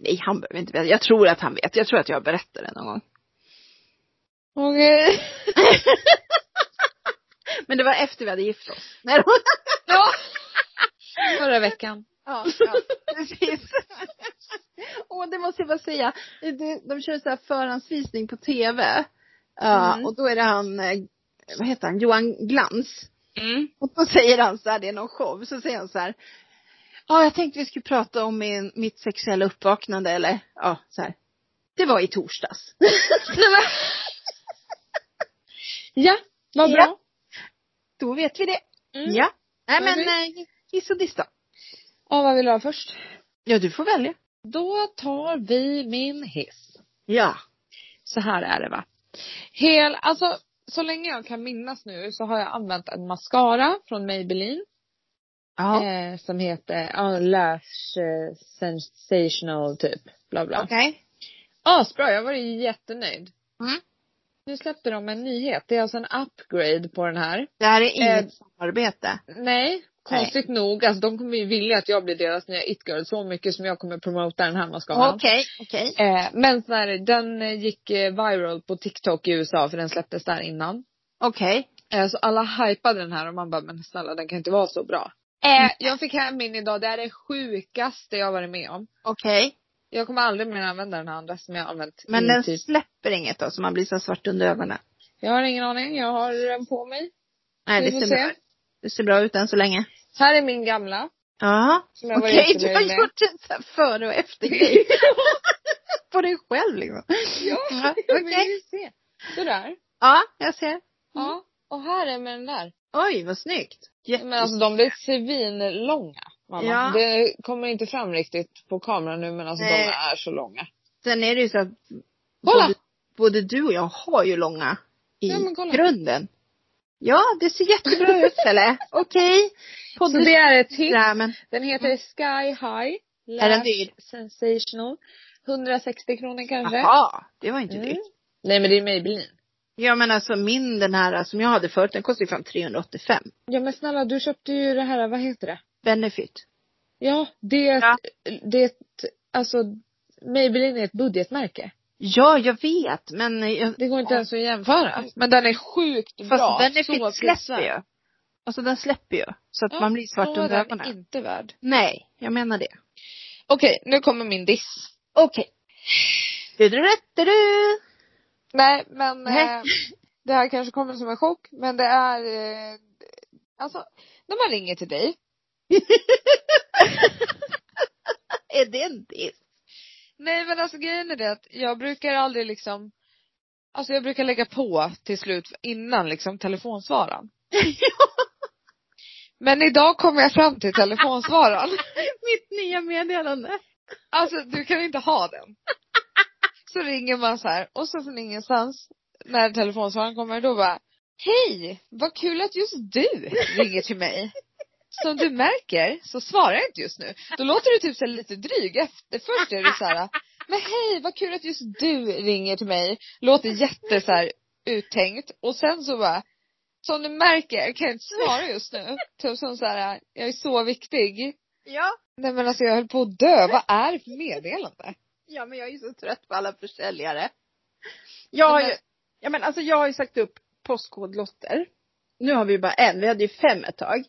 Speaker 2: Nej, han behöver inte veta. Jag tror att han vet. Jag tror att jag berättar det någon gång.
Speaker 1: Okej.
Speaker 2: Men det var efter vi hade gift oss. Nej,
Speaker 1: Ja. Förra veckan.
Speaker 2: Ja, ja precis. och det måste jag bara säga. Det- De kör så här förhandsvisning på tv. Ja,
Speaker 1: Mm.
Speaker 2: Och då är det han, eh, vad heter han, Johan Glans.
Speaker 1: Mm.
Speaker 2: Och då säger han så här, det är någon show, så säger han så här. Ja, jag tänkte vi skulle prata om min, mitt sexuella uppvaknande eller ja, så här. Det var i torsdags.
Speaker 1: Ja, vad
Speaker 2: Ja.
Speaker 1: bra.
Speaker 2: Då vet vi det.
Speaker 1: Mm.
Speaker 2: Ja. Nej
Speaker 1: Vad
Speaker 2: men,
Speaker 1: vill-
Speaker 2: eh, hiss och diss då.
Speaker 1: Ja, vad vill du ha först?
Speaker 2: Ja, du får välja.
Speaker 1: Då tar vi min hiss.
Speaker 2: Ja.
Speaker 1: Så här är det va. Hel, alltså så länge jag kan minnas nu så har jag använt en mascara från Maybelline.
Speaker 2: Ja.
Speaker 1: Eh, som heter ja, Lash eh, Sensational typ. Bla bla.
Speaker 2: Okej.
Speaker 1: Asbra, jag var ju jättenöjd.
Speaker 2: Mm.
Speaker 1: Nu släppte de en nyhet. Det är alltså en upgrade på den här.
Speaker 2: Det här är inget
Speaker 1: Eh,
Speaker 2: samarbete.
Speaker 1: Nej, konstigt nog. Alltså de kommer ju vilja att jag blir deras nya it-girl så mycket som jag kommer promota den här mascaran.
Speaker 2: Okej, okej.
Speaker 1: Eh, men så här, den eh, gick eh, viral på TikTok i USA för den släpptes där innan.
Speaker 2: Okej.
Speaker 1: Eh, så alla hypade den här och man bara, men snälla den kan inte vara så bra. Eh, jag fick hem min idag, det här är det sjukaste jag har varit med om.
Speaker 2: Okej.
Speaker 1: Jag kommer aldrig mer använda den här andra som jag har använt
Speaker 2: Men
Speaker 1: i
Speaker 2: den
Speaker 1: typ.
Speaker 2: släpper inget då, så man blir så svart under ögonen?
Speaker 1: Jag har ingen aning, jag har den på mig.
Speaker 2: Nej,
Speaker 1: Vi
Speaker 2: det
Speaker 1: får
Speaker 2: ser,
Speaker 1: se.
Speaker 2: bra. det ser bra ut än så länge.
Speaker 1: Här är min gamla.
Speaker 2: Ja.
Speaker 1: Som jag
Speaker 2: Okej,
Speaker 1: var
Speaker 2: du har
Speaker 1: jättenöjd med.
Speaker 2: gjort en sån här före och efter grej. På dig själv liksom.
Speaker 1: Ja,
Speaker 2: Ja,
Speaker 1: okej.
Speaker 2: okej.
Speaker 1: se. Sådär.
Speaker 2: Ja, jag ser. Mm.
Speaker 1: Ja. Och här är med den där.
Speaker 2: Oj, vad snyggt.
Speaker 1: Men alltså de blir svinlånga. Mamma.
Speaker 2: Ja.
Speaker 1: Det kommer inte fram riktigt på kameran nu men alltså
Speaker 2: Nej.
Speaker 1: de är så långa.
Speaker 2: Sen är det ju så att
Speaker 1: Kolla!
Speaker 2: både, både du och jag har ju långa i
Speaker 1: Ja, men kolla.
Speaker 2: grunden. Ja, det ser jättebra ut eller? Okej.
Speaker 1: Så det är ett tips.
Speaker 2: Sådär, men
Speaker 1: Den heter Sky High. Lash
Speaker 2: Mm. Är den dyr?
Speaker 1: Sensational. 160 kronor kanske.
Speaker 2: jaha, det var inte
Speaker 1: Mm.
Speaker 2: dyrt.
Speaker 1: Nej men det är Maybelline.
Speaker 2: Ja men alltså min den här som jag hade förut, den kostade ju fan 385.
Speaker 1: Ja men snälla du köpte ju det här, vad heter det?
Speaker 2: Benefit.
Speaker 1: Ja, det,
Speaker 2: Ja.
Speaker 1: det, alltså Maybelline är ett budgetmärke.
Speaker 2: Ja, jag vet men eh, jag,
Speaker 1: Det går inte ens att jämföra. Men den är sjukt
Speaker 2: fast
Speaker 1: bra.
Speaker 2: Benefit släpper
Speaker 1: prisvärd.
Speaker 2: ju. Alltså den släpper ju. Så att
Speaker 1: Ja,
Speaker 2: man blir svart
Speaker 1: så är
Speaker 2: under
Speaker 1: den
Speaker 2: ögonen.
Speaker 1: inte värd.
Speaker 2: Nej, jag menar det.
Speaker 1: Okej, nu kommer min diss.
Speaker 2: Okej. Du, du, du, du.
Speaker 1: Nej, men
Speaker 2: Nej.
Speaker 1: Eh, det här kanske kommer som en chock, men det är eh, alltså när man ringer till dig.
Speaker 2: Är det en diss?
Speaker 1: Nej men alltså grejen är det att jag brukar aldrig liksom Alltså jag brukar lägga på till slut innan liksom telefonsvararen. Men idag kom jag fram till telefonsvararen.
Speaker 2: Mitt nya meddelande.
Speaker 1: Alltså du kan inte ha den. Så ringer man så här och så från ingenstans när telefonsvararen kommer då bara Hej! Vad kul att just du ringer till mig. Som du märker så svarar jag inte just nu. Då låter du typ så här lite dryg efter. Först är du så här Men hej vad kul att just du ringer till mig. Låter jätte så här uttänkt och sen så bara Som du märker kan jag inte svara just nu. Typ som så här jag är så viktig.
Speaker 2: Ja.
Speaker 1: Nej men alltså jag höll på att dö. Vad är det för meddelande?
Speaker 2: Ja men jag är ju så trött på alla försäljare. Jag har ju, ja men alltså jag har ju sagt upp postkodlotter. Nu har vi ju bara en, vi hade ju fem ett tag.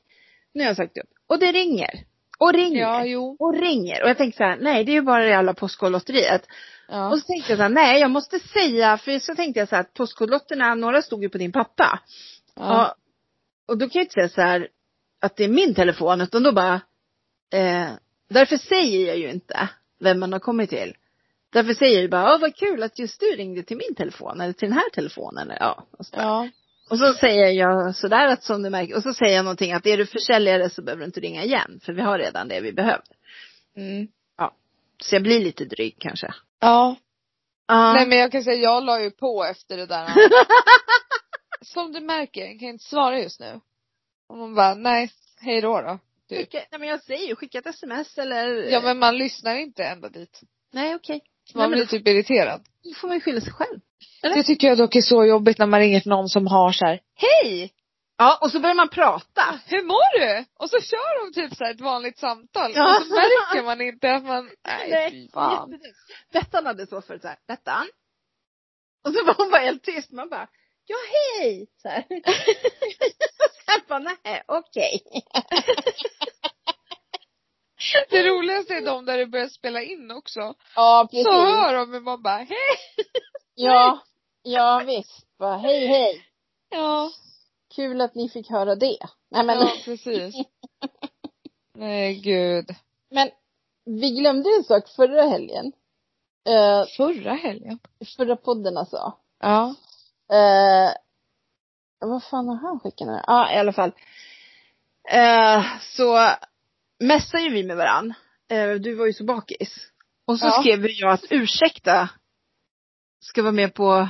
Speaker 2: Nu har jag sagt upp. Och det ringer. Och ringer.
Speaker 1: Ja, jo.
Speaker 2: Och ringer. Och jag tänkte så här, nej det är ju bara det jävla postkodlotteriet.
Speaker 1: Ja.
Speaker 2: Och så tänkte jag så här, nej jag måste säga, för så tänkte jag så här att postkodlotterna, några stod ju på din pappa.
Speaker 1: ja.
Speaker 2: Ja. Och då kan jag inte säga så här att det är min telefon utan då bara, eh, därför säger jag ju inte vem man har kommit till. Därför säger jag bara, åh vad kul att just du ringde till min telefon eller till den här telefonen. Ja, och, så där.
Speaker 1: Ja.
Speaker 2: och så säger jag sådär att som du märker, och så säger jag någonting att är du försäljare så behöver du inte ringa igen för vi har redan det vi behöver.
Speaker 1: Mm.
Speaker 2: Så jag blir lite dryg kanske.
Speaker 1: Ja.
Speaker 2: Ja.
Speaker 1: Nej men jag kan säga, jag la ju på efter det där. Som du märker, jag kan inte svara just nu. Och man bara, nej, hej då då.
Speaker 2: Skicka, nej men jag säger ju, skicka ett sms eller.
Speaker 1: Ja men man lyssnar inte ända dit.
Speaker 2: Nej okej. Nej,
Speaker 1: Man
Speaker 2: men
Speaker 1: blir
Speaker 2: då,
Speaker 1: typ irriterad.
Speaker 2: då får man ju skylla sig själv. Eller?
Speaker 1: Det tycker jag dock är så jobbigt när man ringer till någon som har så här, hej!
Speaker 2: Ja och så börjar man prata.
Speaker 1: Hur mår du? Och så kör de typ så här ett vanligt samtal.
Speaker 2: Ja.
Speaker 1: Och så märker man inte att man, nej fy fan.
Speaker 2: jättedumt. Bettan hade så förut såhär, Bettan. Och så var hon bara helt tyst. Man bara, ja hej! Såhär. Sen bara, nej okej.
Speaker 1: Det roligaste är de där det börjar spela in också.
Speaker 2: Ja
Speaker 1: Så hör de hur man bara, hej!
Speaker 2: Ja, ja visst. Bara, hej hej.
Speaker 1: Ja.
Speaker 2: Kul att ni fick höra det. Nej men,
Speaker 1: Ja, precis. Nej, gud.
Speaker 2: men vi glömde ju en sak förra helgen. Eh,
Speaker 1: Förra helgen?
Speaker 2: förra podden alltså.
Speaker 1: Ja.
Speaker 2: Eh, vad fan har han skickat nu Ja, i alla fall. Eh, så messade ju vi med varann. Eh, du var ju så bakis. Och så
Speaker 1: Ja.
Speaker 2: skrev ju jag att ursäkta ska vara med på,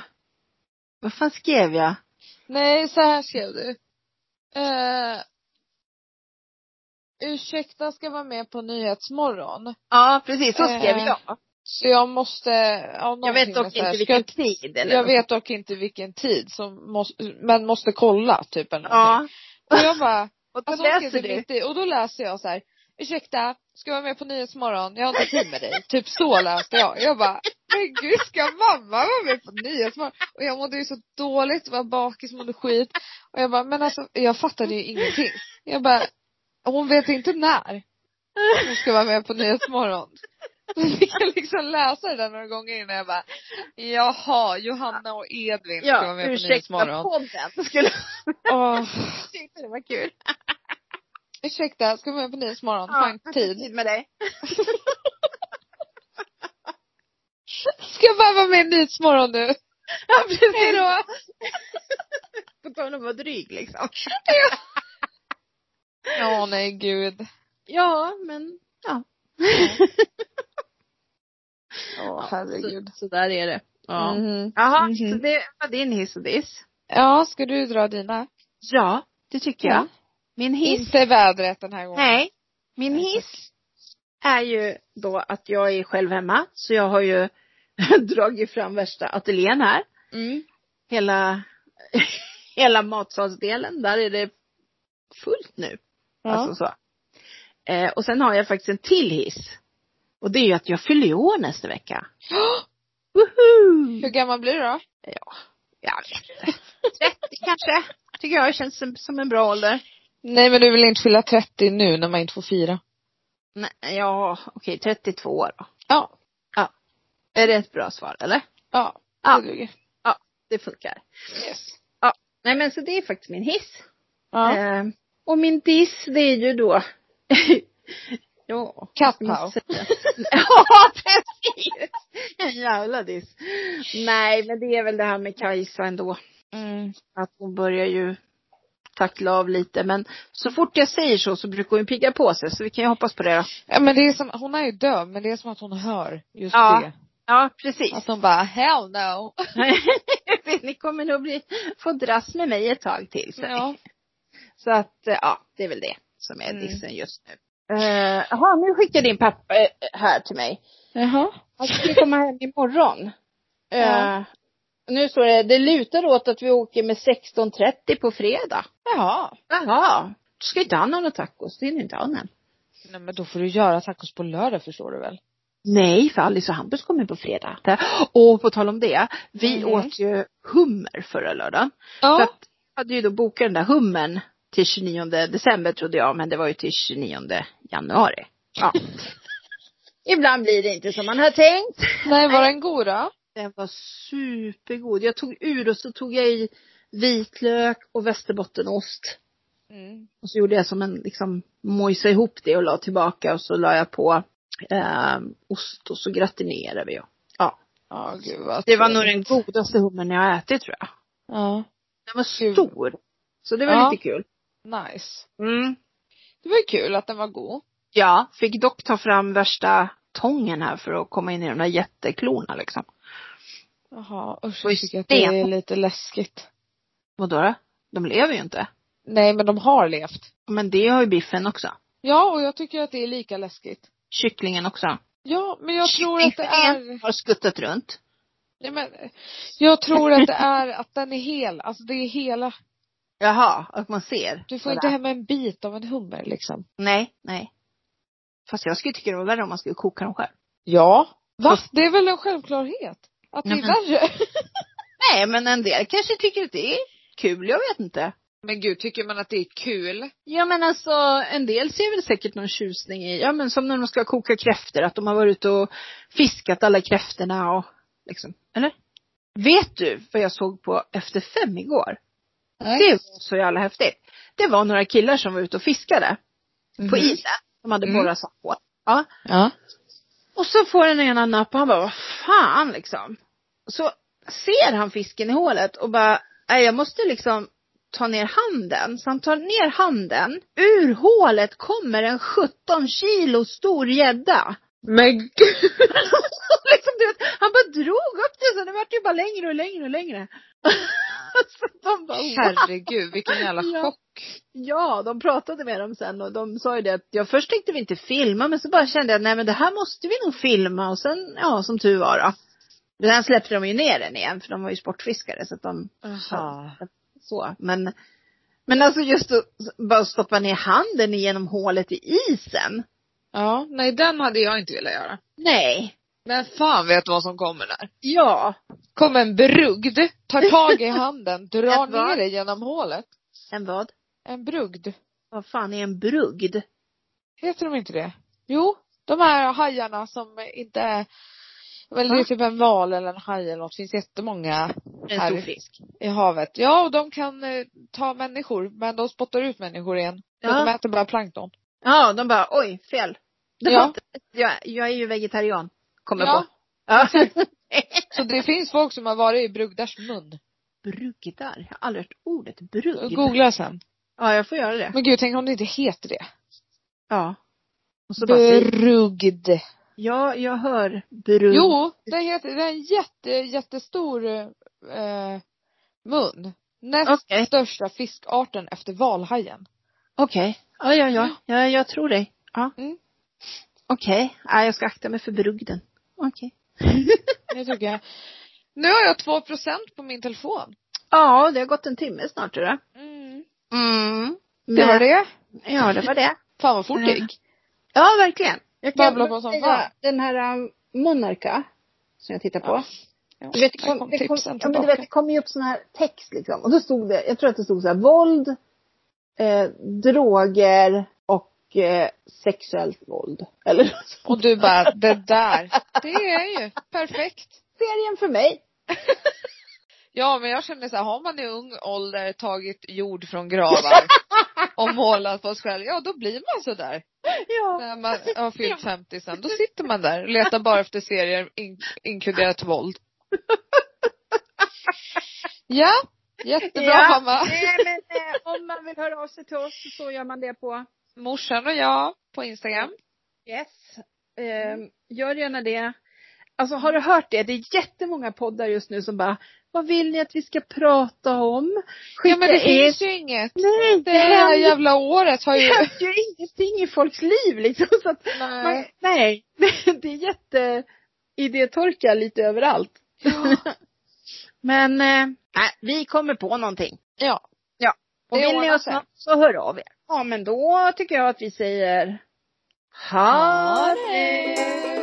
Speaker 2: vad fan skrev jag?
Speaker 1: Nej, så här skrev du. Uh, ursäkta ska vara med på Nyhetsmorgon.
Speaker 2: Ja, precis så skrev
Speaker 1: Eh,
Speaker 2: jag.
Speaker 1: Så jag måste, ja,
Speaker 2: Jag
Speaker 1: någonting
Speaker 2: vet dock
Speaker 1: med så
Speaker 2: inte
Speaker 1: här.
Speaker 2: vilken
Speaker 1: Ska,
Speaker 2: tid eller
Speaker 1: jag vet dock inte vilken tid som måste, men måste kolla typ eller någonting.
Speaker 2: Ja.
Speaker 1: Och jag bara,
Speaker 2: Och då
Speaker 1: Alltså hon
Speaker 2: läser
Speaker 1: skrev det
Speaker 2: du.
Speaker 1: mitt i, och då läser jag så här. Ursäkta, ska jag vara med på Nyhetsmorgon? Jag har inte tid med dig. typ så läste jag. Jag bara, men gud ska mamma vara med på Nyhetsmorgon? Och jag mådde ju så dåligt, var bakis, mådde skit. Och jag bara, men alltså jag fattade ju ingenting. Jag bara, hon vet inte när hon ska vara med på Nyhetsmorgon. Så fick jag liksom läsa det där några gånger innan jag bara, jaha, Johanna och Edvin ska vara
Speaker 2: Ja,
Speaker 1: med på
Speaker 2: ursäkta
Speaker 1: Nyhetsmorgon.
Speaker 2: podden. Skulle,
Speaker 1: Åh,
Speaker 2: tyckte det var kul.
Speaker 1: ursäkta, ska vara med på Nyhetsmorgon?
Speaker 2: Ja,
Speaker 1: Har inte tid.
Speaker 2: tid med dig.
Speaker 1: Ska jag bara vara med i Nyhetsmorgon nu?
Speaker 2: Ja, precis.
Speaker 1: Hejdå!
Speaker 2: På tal om att vara dryg liksom.
Speaker 1: Ja, nej gud.
Speaker 2: Ja, men ja.
Speaker 1: Ja,
Speaker 2: Så, så där är det. Ja.
Speaker 1: Mhm.
Speaker 2: Jaha,
Speaker 1: Mhm.
Speaker 2: så det var din hiss och diss.
Speaker 1: Ja, ska du dra dina?
Speaker 2: Ja, det tycker
Speaker 1: Ja.
Speaker 2: jag. Min hiss.
Speaker 1: Inte vädret den här gången.
Speaker 2: Nej. Min hiss är ju då att jag är själv hemma. Så jag har ju dragit fram värsta ateljén här.
Speaker 1: Mm.
Speaker 2: Hela, hela matsalsdelen. Där är det fullt nu.
Speaker 1: Ja.
Speaker 2: Alltså så. Eh, och sen har jag faktiskt en till hiss. Och det är ju att jag fyller ju år nästa vecka. Woohoo!
Speaker 1: Hur gammal blir du då?
Speaker 2: Ja, jag vet inte. 30 kanske. Tycker jag känns som, som en bra ålder.
Speaker 1: Nej men du vill inte fylla 30 nu när man inte får fira.
Speaker 2: Nej, ja, okej 32 år då.
Speaker 1: Ja.
Speaker 2: Är det ett bra svar eller?
Speaker 1: Ja.
Speaker 2: Ja.
Speaker 1: Det duger.
Speaker 2: Det funkar.
Speaker 1: Yes.
Speaker 2: Nej men så det är faktiskt min hiss.
Speaker 1: Ja.
Speaker 2: Eh, och min diss det är ju då. ja.
Speaker 1: Kattpaus.
Speaker 2: Ja precis. En jävla diss. Nej, men det är väl det här med Kajsa ändå.
Speaker 1: Mm.
Speaker 2: Att hon börjar ju tackla av lite. Men så fort jag säger så så brukar hon pigga på sig. Så vi kan ju hoppas på det då.
Speaker 1: Ja men det är som, hon är ju döv men det är som att hon hör just
Speaker 2: Ja.
Speaker 1: det.
Speaker 2: Ja, precis.
Speaker 1: Att hon bara, hell no.
Speaker 2: Ni kommer nog bli, få dras med mig ett tag till. Så,
Speaker 1: Ja.
Speaker 2: så att, eh, ja, det är väl det som är
Speaker 1: Mm.
Speaker 2: dissen just nu. Eh, Jaha, nu skickar din pappa eh, här till mig.
Speaker 1: Jaha.
Speaker 2: Han skulle komma hem imorgon. Eh,
Speaker 1: Ja.
Speaker 2: Nu står det, det lutar åt att vi åker med 16.30 på fredag.
Speaker 1: Jaha.
Speaker 2: Jaha. Då ska inte han ha några tacos, det hinner inte han än.
Speaker 1: Nej men då får du göra tacos på lördag förstår du väl?
Speaker 2: Nej, för Alice och Hampus kommer på fredag. Och på tal om det, vi
Speaker 1: Mhm.
Speaker 2: åt ju hummer förra lördagen. För
Speaker 1: Ja.
Speaker 2: att jag hade ju då bokat den där hummen till 29 december trodde jag, men det var ju till 29 januari. Ja. Ibland blir det inte som man har tänkt.
Speaker 1: Nej var den god då?
Speaker 2: Den var supergod. Jag tog ur och så tog jag i vitlök och västerbottenost.
Speaker 1: Mm.
Speaker 2: Och så gjorde jag som en, liksom mojsa ihop det och la tillbaka och så la jag på eh, ost och så gratinerade vi. Ja.
Speaker 1: Ja gud vad
Speaker 2: Det var nog den
Speaker 1: trevligt.
Speaker 2: godaste hummen jag har ätit tror jag.
Speaker 1: Ja.
Speaker 2: Den var
Speaker 1: Kul.
Speaker 2: stor. Så det var
Speaker 1: Ja.
Speaker 2: lite kul.
Speaker 1: Nice.
Speaker 2: Mm.
Speaker 1: Det var ju kul att den var god.
Speaker 2: Ja, fick dock ta fram värsta tången här för att komma in i de där jätteklorna liksom.
Speaker 1: Jaha usch
Speaker 2: Och i
Speaker 1: jag tycker att det
Speaker 2: sten.
Speaker 1: är lite läskigt.
Speaker 2: Vadå då? De lever ju inte.
Speaker 1: Nej men de har levt.
Speaker 2: Men det har ju biffen också.
Speaker 1: Ja och jag tycker att det är lika läskigt.
Speaker 2: Kycklingen också.
Speaker 1: Ja men jag tror att det är
Speaker 2: Kycklingen Har skuttat runt.
Speaker 1: Nej, men, jag tror att det är att den är hel, alltså det är hela.
Speaker 2: Jaha, att man ser.
Speaker 1: Du får
Speaker 2: sådär.
Speaker 1: inte hem en bit av en hummer liksom.
Speaker 2: Nej, nej. Fast jag skulle tycka det var värre om man skulle koka dem själv.
Speaker 1: Ja. Va? Det är väl en självklarhet? Att det är
Speaker 2: Nej,
Speaker 1: värre?
Speaker 2: Nej, men en del kanske tycker att det är kul, jag vet inte.
Speaker 1: Men gud, tycker man att det är kul?
Speaker 2: Ja men alltså en del ser väl säkert någon tjusning i, ja men som när de ska koka kräftor att de har varit ute och fiskat alla kräftorna och liksom, eller? Vet du vad jag såg på Efter fem igår? Det var så jävla häftigt. Det var några killar som var ute och fiskade på isen. De hade
Speaker 1: Mhm. Mm.
Speaker 2: borrat sandhål. Ja.
Speaker 1: Ja. och
Speaker 2: Och så får den ena napp och han bara, vad fan liksom. Så ser han fisken i hålet och bara, nej jag måste liksom ta ner handen. Så han tar ner handen. Ur hålet kommer en 17 kilo stor gädda.
Speaker 1: Men gud.
Speaker 2: liksom, du vet, han bara drog upp det så det vart ju bara längre och längre och längre. så de bara, wow.
Speaker 1: Herregud, vilken jävla
Speaker 2: Ja.
Speaker 1: chock.
Speaker 2: Ja, de pratade med dem sen och de sa ju det att jag först tänkte vi inte filma men så bara kände jag nej men det här måste vi nog filma och sen, ja som tur var då. Men Sen släppte de ju ner den igen för de var ju sportfiskare så att de,
Speaker 1: Jaha.
Speaker 2: så. Men, men alltså just att bara stoppa ner handen genom hålet i isen.
Speaker 1: Ja, nej den hade jag inte velat göra.
Speaker 2: Nej.
Speaker 1: Men fan vet vad som kommer där.
Speaker 2: Ja.
Speaker 1: Kommer en brugd, tar tag i handen, drar
Speaker 2: Ett vad?
Speaker 1: ner dig genom hålet.
Speaker 2: En vad?
Speaker 1: En brugd.
Speaker 2: Vad fan är en brugd?
Speaker 1: Heter de inte det? Jo, de här hajarna som inte är, väl det är
Speaker 2: Va?
Speaker 1: typ en val eller en haj eller något. Det finns jättemånga
Speaker 2: En
Speaker 1: Här.
Speaker 2: stor fisk.
Speaker 1: i havet. Ja, och de kan eh, ta människor, men de spottar ut människor igen. Så
Speaker 2: Ja.
Speaker 1: de äter bara plankton.
Speaker 2: Ja, de bara oj, fel. Det
Speaker 1: Ja.
Speaker 2: var inte, jag, jag är ju vegetarian. Kommer
Speaker 1: Ja.
Speaker 2: på. Ja.
Speaker 1: Så det finns folk som har varit i brugdars mun.
Speaker 2: Brugdar? Jag har aldrig hört ordet brugd.
Speaker 1: Googla sen.
Speaker 2: Ja, jag får göra det.
Speaker 1: Men gud, tänk om det inte heter det.
Speaker 2: Ja. Och så bara säger,
Speaker 1: Brugd.
Speaker 2: ja, jag hör brugd.
Speaker 1: Jo, det heter, det är en jätte, jättestor eh, mun. Näst
Speaker 2: Okej.
Speaker 1: största fiskarten efter valhajen.
Speaker 2: Okej. Ja, ja, ja, ja. Jag tror dig. Mm. Ja.
Speaker 1: Mm.
Speaker 2: Okej. Ja, jag ska akta mig för brugden. Okej.
Speaker 1: Det tycker jag. Nu har jag två procent på min telefon.
Speaker 2: Ja, det har gått en timme snart tror jag.
Speaker 1: Mm.
Speaker 2: Mm.
Speaker 1: Det var det.
Speaker 2: Ja, det var det.
Speaker 1: Fan vad fort det
Speaker 2: Mm.
Speaker 1: gick.
Speaker 2: Ja, verkligen. Jag
Speaker 1: Babblar på som fan.
Speaker 2: den här um, Monarka som jag tittar på.
Speaker 1: Ja. Ja,
Speaker 2: Du vet, det
Speaker 1: där
Speaker 2: kom,
Speaker 1: kom
Speaker 2: det kom,
Speaker 1: tipsen
Speaker 2: ja, men du
Speaker 1: tillbaka.
Speaker 2: vet, det kom ju upp sån här text liksom. Och då stod det, jag tror att det stod så här, våld, eh, droger och eh, sexuellt våld. Eller något sånt.
Speaker 1: Och du bara, det där. Det är ju perfekt.
Speaker 2: serien för mig.
Speaker 1: Ja men jag känner så här, har man i ung ålder tagit jord från gravar och målat på oss själva, ja då blir man sådär.
Speaker 2: Ja.
Speaker 1: När man har fyllt 50 sen, då sitter man där och letar bara efter serier in, inkluderat våld. Ja, jättebra
Speaker 2: Ja.
Speaker 1: mamma.
Speaker 2: Nej, men eh, om man vill höra av sig till oss så gör man det på
Speaker 1: Morsan och jag på Instagram.
Speaker 2: Yes. Ehm, gör gärna det. Alltså har du hört det? Det är jättemånga poddar just nu som bara, vad vill ni att vi ska prata om?
Speaker 1: Ja men det
Speaker 2: in-
Speaker 1: finns ju inget.
Speaker 2: Nej,
Speaker 1: Det här
Speaker 2: händer
Speaker 1: jävla året har ju,
Speaker 2: ju- ju ingenting i folks liv liksom. Så att man,
Speaker 1: nej.
Speaker 2: nej, det är jätte idétorka lite överallt. Men eh, nej, vi kommer på någonting.
Speaker 1: Ja.
Speaker 2: Och
Speaker 1: Det
Speaker 2: vill ni
Speaker 1: ordnar
Speaker 2: oss
Speaker 1: sig.
Speaker 2: något så hör av er. Ja men då tycker jag att vi säger, ha
Speaker 1: Ha det!